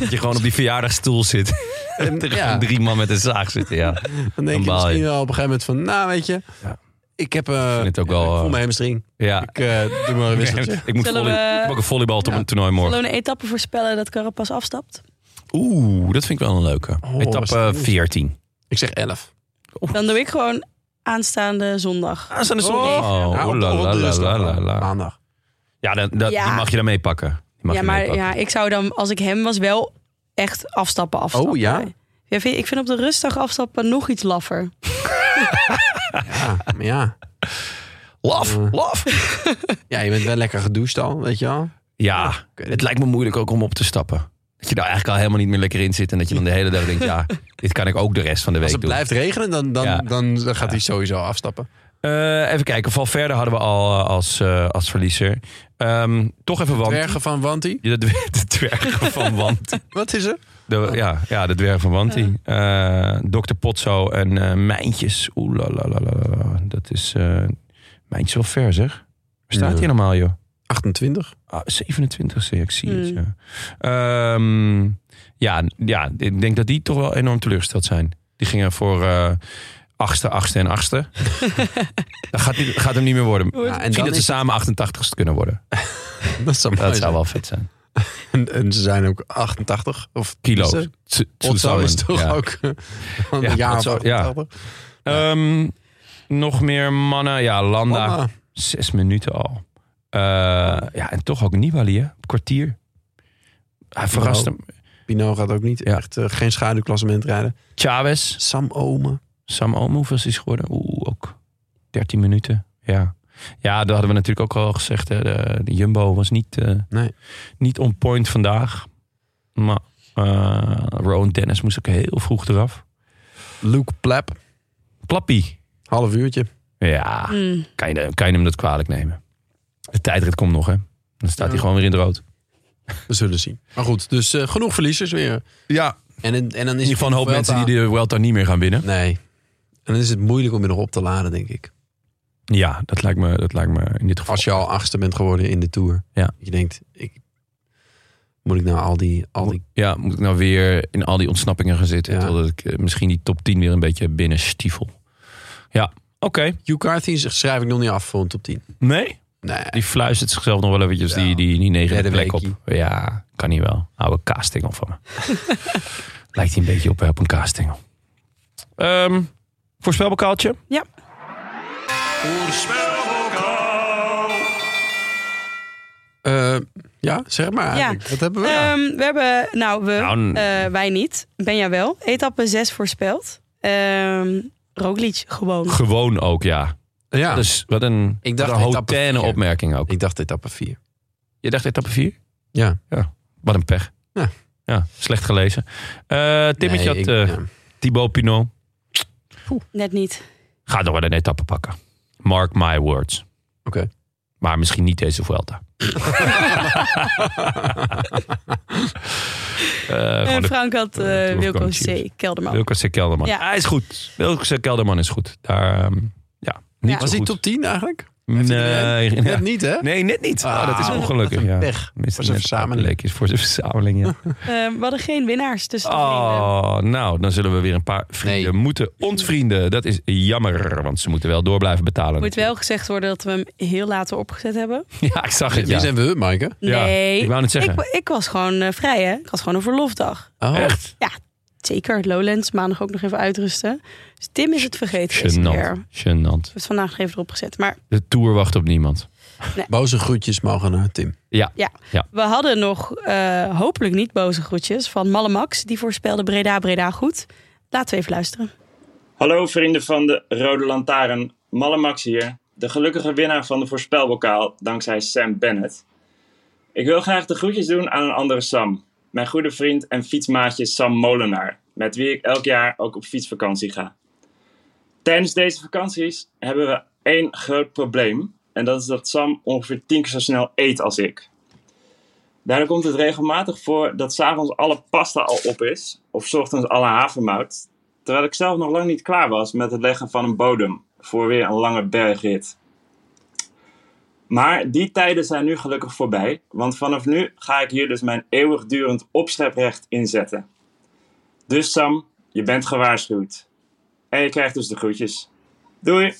A: dat je gewoon op die verjaardagstoel zit.
B: En-
A: Er
B: Ehm, ja.
A: gaan drie man met een zaag zitten, ja.
B: Dan denk je
A: Dan baal je.
B: misschien wel op een gegeven moment van, nou weet je,
A: Ja.
B: ik heb eh,
A: vind het ook wel,
B: ik voel
A: eh,
B: mijn hamstring.
A: ja.
B: Ik eh, doe maar een wisseltje.
A: Ik moet
C: Zullen
A: volley-
C: we-
A: ik heb ook een volleybal op
B: Ja.
A: een toernooi morgen.
C: Zullen we een etappe voorspellen dat Carapaz afstapt?
A: Oeh, dat vind ik wel een leuke.
B: Oh, wat
A: Etappe
B: is-
A: 14.
B: Ik zeg 11.
C: Dan doe ik gewoon aanstaande zondag.
A: Ah, zijn de
B: zondag.
A: Oh,
B: Nou,
A: oeh, la,
B: op- op
A: la,
B: de
A: la,
B: rustdag
A: la, la,
B: dan, Ah,
A: la.
B: Maandag.
A: Ja, dan, dat,
C: Ja.
A: die mag je dan meepakken. Die mag
C: ja,
A: je
C: maar
A: meepakken.
C: ja, ik zou dan, als ik hem was, wel echt afstappen afstappen.
B: Oh, ja?
C: Ja, vind- ik vind op de rustdag afstappen nog iets laffer.
B: Ja, maar ja.
A: Laf,
B: Eh.
A: laf.
B: ja, je bent wel lekker gedoucht al, weet je wel.
A: Ja,
B: weet
A: het lijkt me moeilijk ook om op te stappen. Dat je daar eigenlijk al helemaal niet meer lekker in zit. En dat je dan de hele dag denkt, ja, dit kan ik ook de rest van de
B: Als
A: week
B: het
A: doen.
B: blijft regenen, dan, dan,
A: Ja.
B: dan gaat hij sowieso afstappen.
A: Eh, even kijken, Valverde hadden we al eh, als, eh, als verliezer. Ehm, toch even Want.
B: Dwergen van Wanti.
A: Ja, De, dwer- de dwergen van Want.
B: Wat is er?
A: De, ja, ja, de dwerg van Wanti. Eh Dr. Potso en eh Mijntjes. Oeh, la, la, la, la, la. Dat is... eh Mijntjes wel ver, zeg. Waar staat
B: Ja.
A: hij nou normaal, joh?
B: 28.
A: Ah, 27 ste ik zie het,
C: Hmm.
A: ja. Ehm, ja, ja, ik denk dat die toch wel enorm teleurgesteld zijn. Die gingen voor eh achtste, achtste en achtste. dat gaat, niet- gaat hem niet meer worden.
C: Goed.
B: Ja, en
A: Misschien
B: dan
A: dat ze
B: is,
A: samen 88ste kunnen worden.
B: dat zou, mooi
A: Dat zou
B: zijn.
A: wel vet zijn.
B: En, en ze zijn ook 88. Of
A: Kilo's.
B: Ze-
A: Zu-
B: Otto
A: zusammen,
B: is toch
A: ja.
B: ook eh, een
A: Ja,
B: jaar of
A: Otto, ja.
B: 88.
A: Ehm, nog meer mannen. Ja, Landa.
B: Mama.
A: Zes minuten al. Eh, ja, en toch ook Nibali, hè? Kwartier. Hij verrast
B: Nou.
A: hem.
B: Pinot gaat ook niet
A: Ja.
B: echt eh, geen schaduwklassement rijden.
A: Chavez.
B: Sam Omen.
A: Sam Omen, hoeveel is hij geworden? Oeh, ook 13 minuten. Ja. Ja, dat hadden we natuurlijk ook al gezegd. Hè. De, de Jumbo was niet, eh,
B: Nee.
A: niet on point vandaag. Maar eh Rowan Dennis moest ook heel vroeg eraf.
B: Luke Plap.
A: Plappie.
B: Half uurtje.
A: Ja,
C: Mm.
A: kan je, kan je hem dat kwalijk nemen. De tijdrit komt nog, hè. Dan staat hij
B: Ja.
A: gewoon weer in het rood.
B: We zullen zien. Maar goed, dus eh, genoeg verliezers weer.
A: Ja.
B: En, en dan is
A: In ieder geval een hoop mensen die de Welta niet meer gaan winnen.
B: Nee. En dan is het moeilijk om je nog op te laden, denk ik.
A: Ja, dat lijkt me, dat lijkt me in dit geval.
B: Als je al achtste bent geworden in de Tour.
A: Ja.
B: Je denkt, ik, moet ik nou al die... Al die
A: Ja, moet ik nou weer in al die ontsnappingen gaan zitten.
B: Ja.
A: Totdat ik eh, misschien die top 10 weer een beetje binnen stiefel. Ja, oké.
B: Hugh Carthy schrijf ik nog niet af voor een top 10.
A: Nee?
B: Nee.
A: Die fluistert zichzelf nog wel eventjes
B: Ja.
A: die, die, die negende
B: Derde
A: plek op.
B: weekie.
A: Ja, kan niet wel. Oude kaastingel van me. Lijkt hij een beetje op, eh, op een kaastingel. Ehm voorspelbokaaltje?
C: Ja.
B: Eh, ja, zeg maar eigenlijk. Wat hebben we? Ja.
C: Ehm, we hebben, nou, we,
A: Oh, Nou, n-
C: eh, wij niet. Benja wel. Etappe 6 voorspeld. Ehm Roglic gewoon.
A: Gewoon ook, ja.
B: Ja.
A: Dus wat een,
B: Ik dacht
A: wat een
B: etappe
A: hautaine
B: vier.
A: opmerking ook.
B: Ik dacht etappe 4.
A: Je dacht etappe 4?
B: Ja.
A: Wat een pech.
B: Ja.
A: Ja, slecht gelezen. Eh Timmetje
B: Nee,
A: had
B: ik-
A: eh,
B: ja.
A: Thibaut Pinot.
C: Net niet.
A: Gaat nog wel een etappe pakken. Mark my words.
B: Oké.
A: Maar misschien niet deze Vuelta. Eh,
C: En
A: gewoon de-
C: Frank had eh,
A: eh,
C: Wilco
A: Tourcoaches.
C: C. Kelderman.
A: Wilco C. Kelderman.
C: Ja.
A: Hij is goed. Wilco C. Kelderman is goed. Daar, ehm, ja, niet
C: Ja.
A: zo
B: Was die
A: goed.
B: top 10 eigenlijk? Heeft hij
A: Nee,
B: iedereen?
A: ja.
B: Net niet, hè?
A: nee, net niet. Ah,
B: Ah,
A: dat is ongelukkig. Ja.
B: Pech.
A: Mist
B: Voor zijn
A: net
B: verzameling.
A: leekjes Voor zijn verzameling, ja.
C: Eh, we hadden geen winnaars tussen de vrienden.
A: Oh, nou, dan zullen we weer een paar vrienden
B: Nee.
A: moeten ontvrienden. Dat is jammer, want ze moeten wel door blijven betalen.
C: Moet wel gezegd worden dat we hem heel later opgezet hebben.
A: Ja, ik zag het,
B: Wie
A: ja.
B: zijn we, Maaike?
A: Ja,
C: Nee.
A: ik wou net zeggen.
C: Ik, ik was gewoon eh, vrij, hè? Ik had gewoon een verlofdag.
B: Oh,
A: Echt?
C: Zeker, Lowlands, maandag ook nog even uitrusten. Dus Tim is het vergeten deze keer.
A: Genant,
C: We
A: genant.
C: hebben het vandaag nog even erop gezet. Maar
A: De Tour wacht op niemand.
B: Boze groetjes mogen naar Tim.
C: we hadden nog eh, hopelijk niet boze groetjes van Malle Max. Die voorspelde Breda Breda goed. Laten we even luisteren.
D: Hallo vrienden van de Rode Lantaarn, Malle Max hier, de gelukkige winnaar van de voorspelbokaal dankzij Sam Bennett. Ik wil graag de groetjes doen aan een andere Sam, mijn goede vriend en fietsmaatje Sam Molenaar, met wie ik elk jaar ook op fietsvakantie ga. Tijdens deze vakanties hebben we één groot probleem en dat is dat Sam ongeveer tien keer zo snel eet als ik. Daardoor komt het regelmatig voor dat s'avonds alle pasta al op is, of 's ochtends alle havermout, terwijl ik zelf nog lang niet klaar was met het leggen van een bodem voor weer een lange bergrit. Maar die tijden zijn nu gelukkig voorbij, want vanaf nu ga ik hier dus mijn eeuwigdurend opscheprecht inzetten. Dus Sam, je bent gewaarschuwd. En je krijgt dus de groetjes. Doei!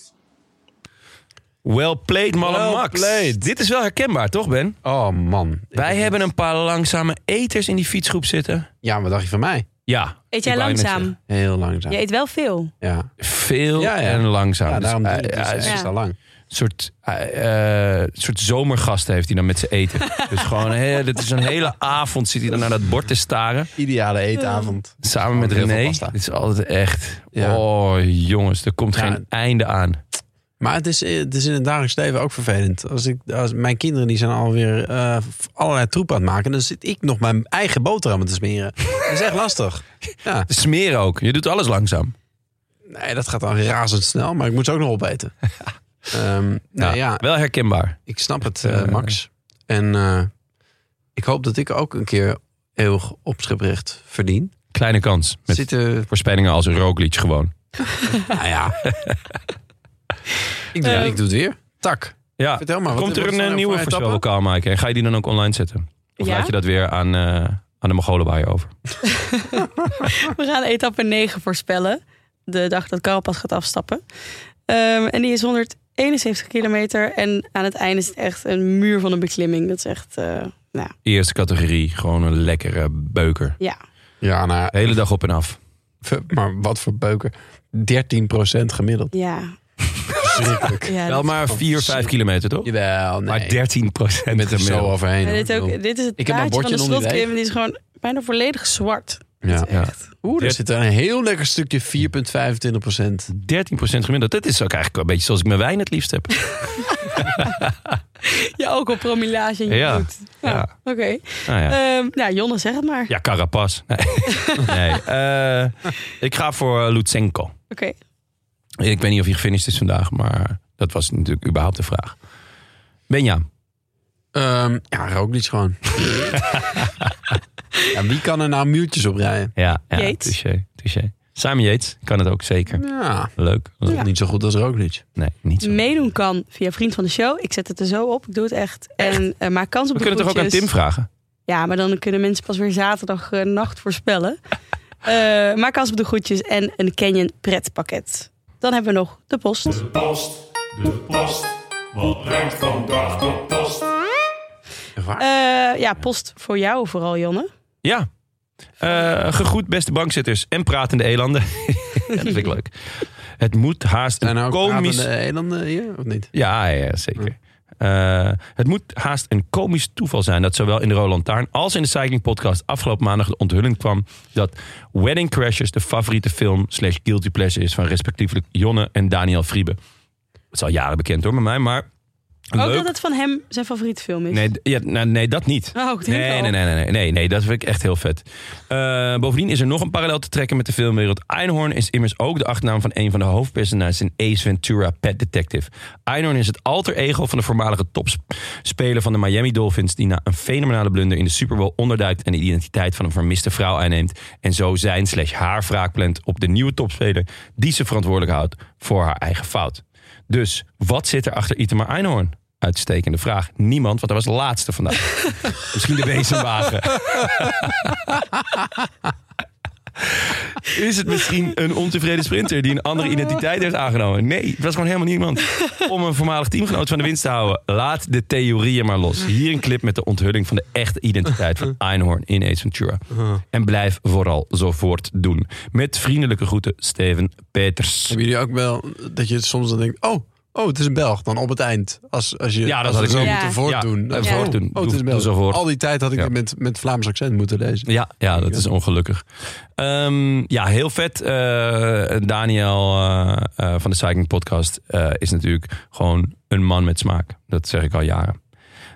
A: Well played, Malle
B: Well
A: Max.
B: played.
A: Dit is wel herkenbaar, toch Ben?
B: Oh, man.
A: Wij hebben een paar langzame eters in die fietsgroep zitten.
B: Ja, wat dacht je van mij?
A: Ja.
C: Eet jij
A: ik wou je net
C: langzaam?
B: Heel langzaam.
C: Je
B: Ja.
C: eet wel veel.
B: Ja,
A: Veel
B: Ja, ja.
A: en langzaam. Dus,
B: daarom
A: eh,
B: duurt het
A: ja,
B: dus
A: het is
B: extra lang.
A: een soort, eh, eh, soort zomergasten heeft hij dan met zijn eten. dus gewoon, hè, dit is een hele avond zit hij dan naar dat bord te staren.
B: Ideale eetavond.
A: Samen met
B: Gewoon heel veel
A: René.
B: pasta.
A: Dit is altijd echt...
B: Ja.
A: Oh, jongens, er komt
B: Ja.
A: geen einde aan.
B: Maar het is, het is in het dagelijks leven ook vervelend. Als ik, als mijn kinderen die zijn alweer eh, allerlei troep aan het maken. Dan zit ik nog mijn eigen boterhammen te smeren. Dat is echt lastig. Ja.
A: Smeren ook. Je doet alles langzaam.
B: Nee, dat gaat dan razendsnel. Maar ik moet ze ook nog opeten. Ehm nou ja,
A: Wel herkenbaar.
B: ik snap het,
A: eh,
B: eh, Max. En eh, ik hoop dat ik ook een keer eeuwig opscheprecht verdien.
A: Kleine kans. Met
B: Zitten
A: voorspellingen als Roglic gewoon.
B: Nou ja. ik, doe,
C: Eh,
B: ik doe het weer. Tak.
A: Ja.
B: Vertel maar. wat-
A: Komt er
B: wat
A: een
B: zijn nou
A: eh, nieuwe
B: voor etappen?
A: voorspelbokaal maken? En ga je die dan ook online zetten? Of
C: Ja?
A: laat je dat weer aan, eh, aan de Mongolenbaai over?
C: We gaan etappe 9 voorspellen. De dag dat Carapaz gaat afstappen. Ehm, en die is 171 kilometer. En aan het einde is het echt een muur van een beklimming. Dat is echt, eh, nou
A: Eerste categorie. Gewoon een lekkere beuker.
C: ja.
B: Ja, nou,
A: De hele dag op en af.
B: v- maar wat voor beuken. 13% gemiddeld.
C: Ja.
B: Verschrikkelijk.
C: ja
A: Wel
C: dat-
A: maar 4, 5 kilometer toch?
B: Jawel, nee.
A: Maar 13 procent.
B: Met er zo overheen.
C: en
B: hoor.
C: dit, ook, dit is het
B: Ik heb mijn
C: plaatje van de
B: bordje onder die
C: slotklim. Die is gewoon bijna volledig zwart.
B: Ja.
C: Dat is echt.
B: Oeh, daar zit een heel lekker stukje 4,25%.
A: 13 gemiddeld. Dat is ook eigenlijk een beetje zoals ik mijn wijn het liefst heb.
C: Ja, ook op promillage in je
A: Ja.
C: bloed. Ja.
A: Ja.
C: Oké.
A: Nou
B: Eh.
A: ja.
C: Ehm, nou, Jonne, zeg het maar.
A: Ja, Carapas. Nee. nee. eh, ik ga voor eh, Lutsenko.
C: Oké.
A: Ik weet niet of hij gefinished is vandaag, maar dat was natuurlijk überhaupt de vraag. Benja,
B: Ehm ja, rook niet gewoon. ja, wie kan er nou muurtjes op rijden?
A: ja, ja
C: Yates.
A: touché, touché. Samen Yates kan het ook zeker.
B: Ja,
A: Leuk.
B: dat is
C: Ja.
B: niet zo goed als Roglic.
A: Nee, niet zo.
C: Meedoen kan via Vriend van de Show. Ik zet het er zo op. Ik doe het echt. En eh, maak kans
A: We
C: op de
A: kunnen toch ook aan
C: groetjes.
A: Tim vragen?
C: Ja, maar dan kunnen mensen pas weer zaterdag eh, nacht voorspellen. Eh, maak kans op de groetjes en een Canyon pretpakket. Dan hebben we nog de post.
E: De post, de post, wat brengt vandaag de post?
C: Eh, ja, post voor jou vooral, Jonne.
A: Ja. Eh gegroet beste bankzitters en pratende elanden. dat vind ik leuk. Het moet haast
B: Zijn er
A: een
B: ook
A: komisch...
B: pratende Eh, eilanden hier, of niet?
A: Ja, ja zeker. Eh, het moet haast een komisch toeval zijn dat zowel in de Roland Lantaarn als in de Cycling Podcast afgelopen maandag de onthulling kwam dat Wedding Crashers de favoriete film slash guilty pleasure is van respectievelijk Jonne en Daniel Friebe. Het is al jaren bekend hoor bij mij, maar
C: Ook
A: leuk.
C: dat het van hem zijn favoriete film is.
A: Nee, d- ja, nou, nee, dat niet.
C: Oh, ik denk
A: Nee,
C: al.
A: nee, nee, nee, nee, nee, nee, dat vind ik echt heel vet. Eh, bovendien is er nog een parallel te trekken met de filmwereld. Einhorn is immers ook de achternaam van een van de hoofdpersonages in Ace Ventura Pet Detective. Einhorn is het alter ego van de voormalige topspeler van de Miami Dolphins, die na een fenomenale blunder in de Super Bowl onderduikt en de identiteit van een vermiste vrouw aanneemt. En zo zijn slash haar wraak plant op de nieuwe topspeler die ze verantwoordelijk houdt voor haar eigen fout. Dus wat zit er achter Itema Einhorn? Uitstekende vraag. Niemand, want hij was de laatste vandaag. Misschien de bezemwagen. Is het misschien een ontevreden sprinter die een andere identiteit heeft aangenomen? Nee, het was gewoon helemaal niemand. Om een voormalig teamgenoot van de winst te houden, laat de theorieën maar los. Hier een clip met de onthulling van de echte identiteit van Einhorn in Ace Ventura. En blijf vooral zo voort doen. Met vriendelijke groeten, Steven Peters.
B: Hebben jullie ook wel dat je soms dan denkt, oh, oh, het is een Belg. Dan op het eind, als, als je
A: Ja, dat
B: als
A: had
B: we
A: ik
B: zo
A: ook.
B: moeten
C: Ja.
B: voortdoen.
A: Ja,
B: Dan-
A: even
B: oh,
A: voortdoen.
B: Oh, het is een
A: Doe- doe
B: Belg.
A: zo voort.
B: Al die tijd had ik
A: Ja.
B: het met, met Vlaams accent moeten lezen.
A: Ja, ja dat is ongelukkig. Ehm, ja, heel vet. eh, Daniel eh, eh, van de Cycling Podcast eh, is natuurlijk gewoon een man met smaak. Dat zeg ik al jaren.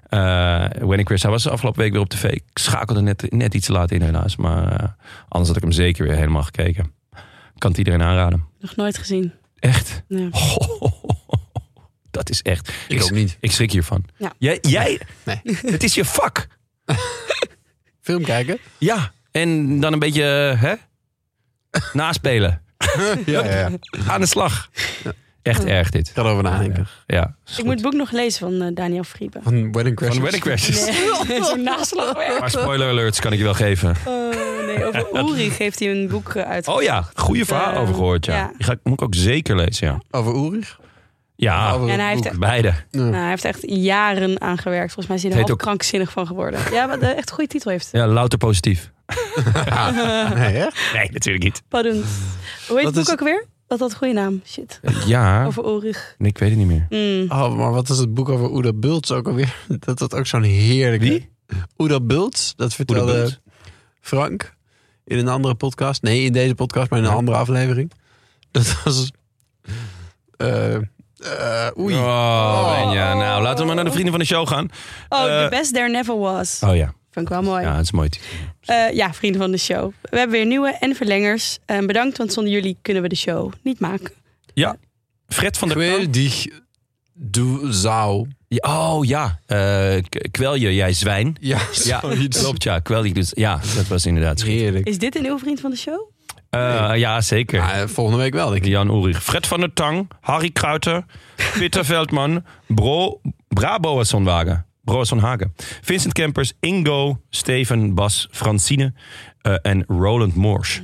A: Eh Wenny Chris, hij was afgelopen week weer op tv. Ik schakelde net, net iets te laat in helaas. Maar eh, anders had ik hem zeker weer helemaal gekeken. Kan het iedereen aanraden.
C: Nog nooit gezien.
A: Echt?
C: Ja.
A: dat is echt.
B: Ik ook niet.
A: Ik schrik hiervan.
C: Ja.
A: Jij, jij
B: Nee.
A: het is je vak.
B: Film kijken?
A: Ja, en dan een beetje eh, hè? naspelen.
B: ja, ja, ja. Ik
A: Aan de slag. Echt erg dit.
B: ga erover nadenken.
A: Ja.
C: Ik moet het boek nog lezen van eh, Daniel Friebe.
B: Van Wedding Crashers.
A: Van wedding crashes.
C: Nee, zo'n naslagwerk.
A: Maar spoiler alerts kan ik je wel geven.
C: Oh, nee, over Uri geeft hij een boek eh, uit.
A: Oh ja, goede verhaal
C: Eh,
A: over gehoord. Ja.
C: ja.
A: Die ga ik, moet ik ook zeker lezen. Ja.
B: Over Ulrich?
A: Ja,
B: Over
C: En hij heeft-
B: Boek.
A: beide.
C: Nou, hij heeft echt jaren aan gewerkt. Volgens mij is hij er
A: Heet
C: half
A: ook-
C: krankzinnig van geworden. Ja, wat eh, echt een goede titel heeft.
A: Ja, louter positief.
B: Ah, Nee, echt?
A: Nee, natuurlijk niet.
C: Pardon. Hoe
B: Wat
C: heet het boek
B: is-
C: ook weer? Wat had een goede naam. Shit.
A: Ja,
C: Over Ulrich.
A: nee, ik weet het niet meer.
C: Mm.
B: Oh, maar wat is het boek over Oeda Bultz ook alweer? Dat dat ook zo'n heerlijke...
A: Wie?
B: Oeda Bultz, dat vertelde
A: Bultz?
B: Frank in een andere podcast. Nee, in deze podcast, maar in een
A: Ja.
B: andere aflevering. Dat was... eh eh, oei.
A: Oh, Benja. Nou, laten we maar naar de vrienden van de show gaan.
C: Oh,
A: Eh,
C: The Best There Never Was.
A: Oh ja,
C: Vond ik wel mooi.
A: ja het is mooi. titel.
C: Eh, ja, vrienden van de show. We hebben weer nieuwe en verlengers. En bedankt, want zonder jullie kunnen we de show niet maken.
A: Fred van der Kamp.
B: Quel dich du zou.
A: Ja, Oh ja, Eh, k- kwel je, jij zwijn.
B: Ja,
A: Ja,
B: zoiets.
A: klopt. Ja, kwel je. Dus, ja, dat was inderdaad schiet.
B: Heerlijk.
C: Is dit een nieuwe vriend van de show?
A: Eh, ja, zeker.
B: Ah, eh, volgende week wel, denk ik.
A: Jan Ulrich. Fred van der Tang, Harry Kruiter, Peter Veldman, Bro, Brabo Sonwagen. Hagen. Vincent Kempers, Ingo, Steven, Bas, Francine eh, en Roland Moors.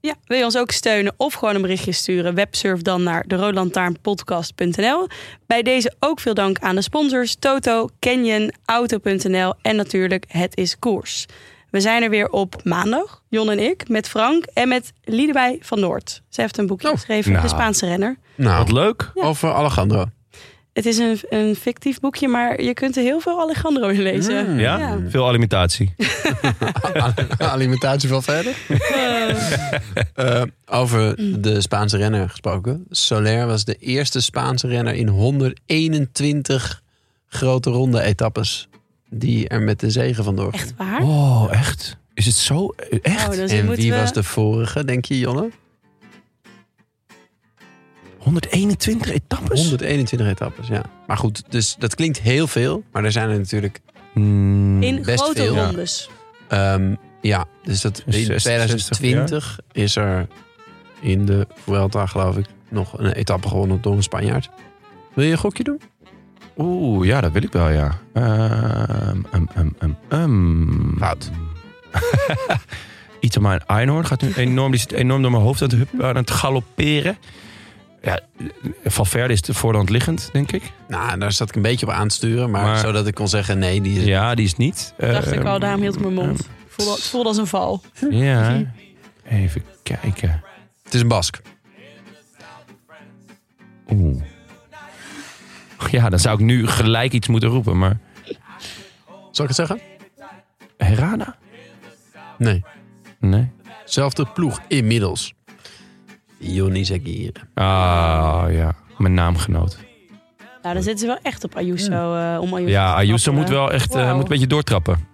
C: Ja, wil je ons ook steunen of gewoon een berichtje sturen? Websurf dan naar deroodlantaarnpodcast.nl. Bij deze ook veel dank aan de sponsors Toto, Canyon, Auto.nl en natuurlijk Het is Koers. We zijn er weer op maandag, Jon en ik, met Frank en met Liedewij van Noord. Zij heeft een boekje
B: Oh,
C: geschreven,
A: nou.
C: de Spaanse renner.
B: Nou,
A: Wat leuk.
B: over Alejandro.
C: Het is een, een fictief boekje, maar je kunt er heel veel Alejandro in lezen.
A: Ja? Veel alimentatie.
B: Alimentatie van verder.
C: Oh.
B: Eh, over de Spaanse renner gesproken. Soler was de eerste Spaanse renner in 121 grote ronde etappes. Die er met de zegen vandoor ging.
C: Echt waar?
A: Oh, echt? Is het zo? eh, Echt?
C: Oh, dan
B: En
C: moeten
B: wie
C: we-
B: was de vorige, denk je, Jonne?
A: 121 etappes?
B: 121 etappes, ja. Maar goed, dus dat klinkt heel veel. Maar er zijn er natuurlijk...
A: Hmm.
C: In
B: Best
C: grote
B: veel.
C: rondes.
B: ehm, ja, dus dat in
A: 66,
B: 2020 is er in de Vuelta, geloof ik, nog een etappe gewonnen door een Spanjaard. Wil je een gokje doen?
A: Oeh, ja, dat wil ik wel, ja. Ehm um, um, um,
B: Fout.
A: Iets aan mijn Einhorn gaat nu enorm, die zit enorm door mijn hoofd aan het, hup- aan het galopperen. Ja, Valverde is de voorhand liggend, denk ik.
B: Nou, daar zat ik een beetje op aan te sturen, maar,
A: Maar-
B: zodat ik kon zeggen nee, die is...
A: Ja, die is niet.
C: Dacht ik al,
A: Ehm,
C: daarom hield ik mijn mond. Voelde, het voelde als een val.
A: ehm, ja, even kijken.
B: Het is een Bask.
A: Oeh. Ja, dan zou ik nu gelijk iets moeten roepen, maar...
B: Zal ik het zeggen?
A: Herrada?
B: Nee.
A: Nee.
B: Zelfde ploeg inmiddels. Joni Zagir.
A: Ah, ja. Mijn naamgenoot.
C: Nou, dan zitten ze wel echt op Ayuso. eh, om Ayuso
A: Ja,
C: te
A: Ayuso
C: trappelen.
A: moet wel echt eh,
C: Wauw.
A: moet een beetje doortrappen.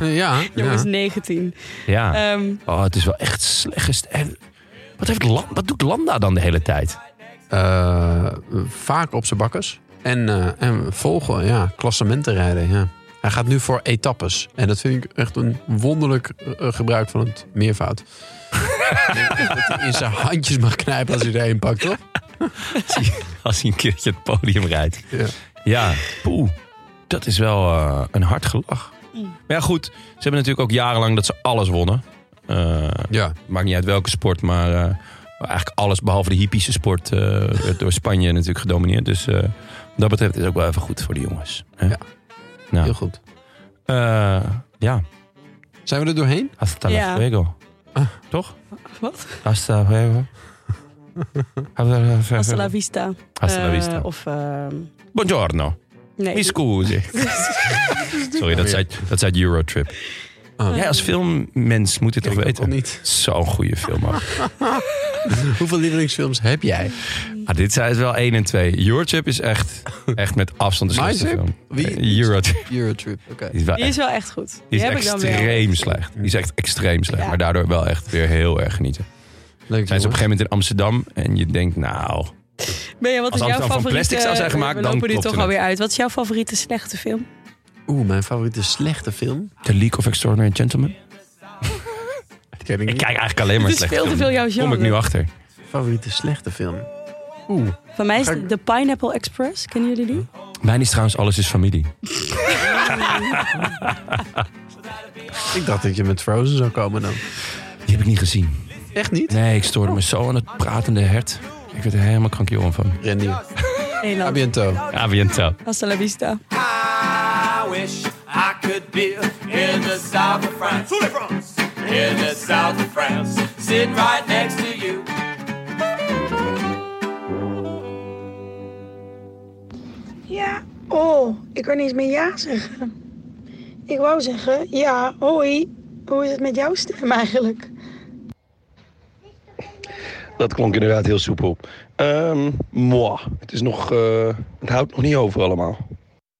B: ja,
C: Jongens,
B: ja.
C: 19.
A: Ja.
C: Ehm,
A: Oh, het is wel echt slecht. gest- En Wat, heeft Lan- wat doet Landa dan de hele tijd?
B: Eh, vaak op zijn bakkers. En, eh, en volgen, ja. Klassementen rijden, ja. Hij gaat nu voor etappes. En dat vind ik echt een wonderlijk eh, gebruik van het meervoud. Ik denk echt dat hij in zijn handjes mag knijpen als hij er een pakt, toch?
A: Als hij een keertje het podium rijdt.
B: Ja.
A: Ja, poeh. Dat is wel eh, een hard gelach.
C: Mm.
A: Maar ja, goed. Ze hebben natuurlijk ook jarenlang dat ze alles wonnen. Eh,
B: Ja,
A: maakt niet uit welke sport, maar eh, eigenlijk alles behalve de hippische sport eh, werd door Spanje natuurlijk gedomineerd. Dus eh, wat dat betreft is het ook wel even goed voor de jongens. hè?
B: Ja.
A: Nou,
B: heel goed.
A: eh, ja,
B: Zijn we er doorheen?
A: hasta
C: Ja.
A: la fuego.
B: Ah.
A: Toch?
C: Wat?
A: Hasta la fuego. Hasta la fuego.
C: Hasta la vista.
A: Hasta la
C: Eh,
A: vista.
C: Of, ehm,
A: Buongiorno.
C: nee.
A: Mi scusi. Sorry, dat zei, dat zei Eurotrip.
B: Ah.
A: Jij als filmmens moet dit
B: Kijk,
A: toch
B: dat kon
A: weten?
B: niet.
A: Zo'n goede film. ook.
B: Hoeveel lievelingsfilms heb jij?
A: Ah, dit zijn het wel 1 en 2. Eurotrip is echt, echt met afstand de
B: My
A: slechtste
B: Trip?
A: film.
B: Wie?
A: Eurotrip
B: Eurotrip, oké.
A: is wel
C: Die is
A: echt,
C: wel echt goed. Die,
A: die is
C: heb ik dan wel.
A: extreem slecht. Die is echt extreem slecht.
C: Ja.
A: Maar daardoor wel echt weer heel erg genieten.
B: Leuk,
A: Zijn ze op een
B: jongen.
A: gegeven moment in Amsterdam en je denkt, nou,
C: Ben je, wat
A: Als
C: is jouw
A: Amsterdam van
C: favoriete...
A: plastic zou zijn gemaakt,
C: we
A: dan
C: lopen nu
A: klopte
C: toch
A: het.
C: alweer uit. Wat is jouw favoriete slechte film?
B: Oeh, mijn favoriete slechte film?
A: The League of Extraordinary Gentlemen.
B: Dat ken
A: Ik
B: niet.
A: kijk eigenlijk alleen maar
C: Het is
A: slecht.
C: veel te veel jouw genre.
A: Kom ik nu achter.
B: Favoriete slechte film? Oeh.
C: Van mij is
B: Ga ik-
C: The Pineapple Express. Kennen jullie die?
A: Mijn is trouwens Alles is Familie.
B: Ik dacht dat je met Frozen zou komen dan.
A: Die heb ik niet gezien.
B: Echt niet?
A: Nee, ik stoorde me zo aan het pratende hert. Ik werd er helemaal krankjoren van.
B: Randy. A
C: Nederland.
B: biento.
A: Aviento.
C: Hasta la vista.
F: I wish I could be in the south of France. In the south of France. Sitting right next to you.
G: Ja, oh, ik kan niet eens meer ja zeggen. Ik wou zeggen, ja, oh, hoi. Hoe is het met jouw stem eigenlijk?
H: Dat klonk inderdaad heel soepel. Ehm moi. Het, is nog, eh, het houdt nog niet over allemaal.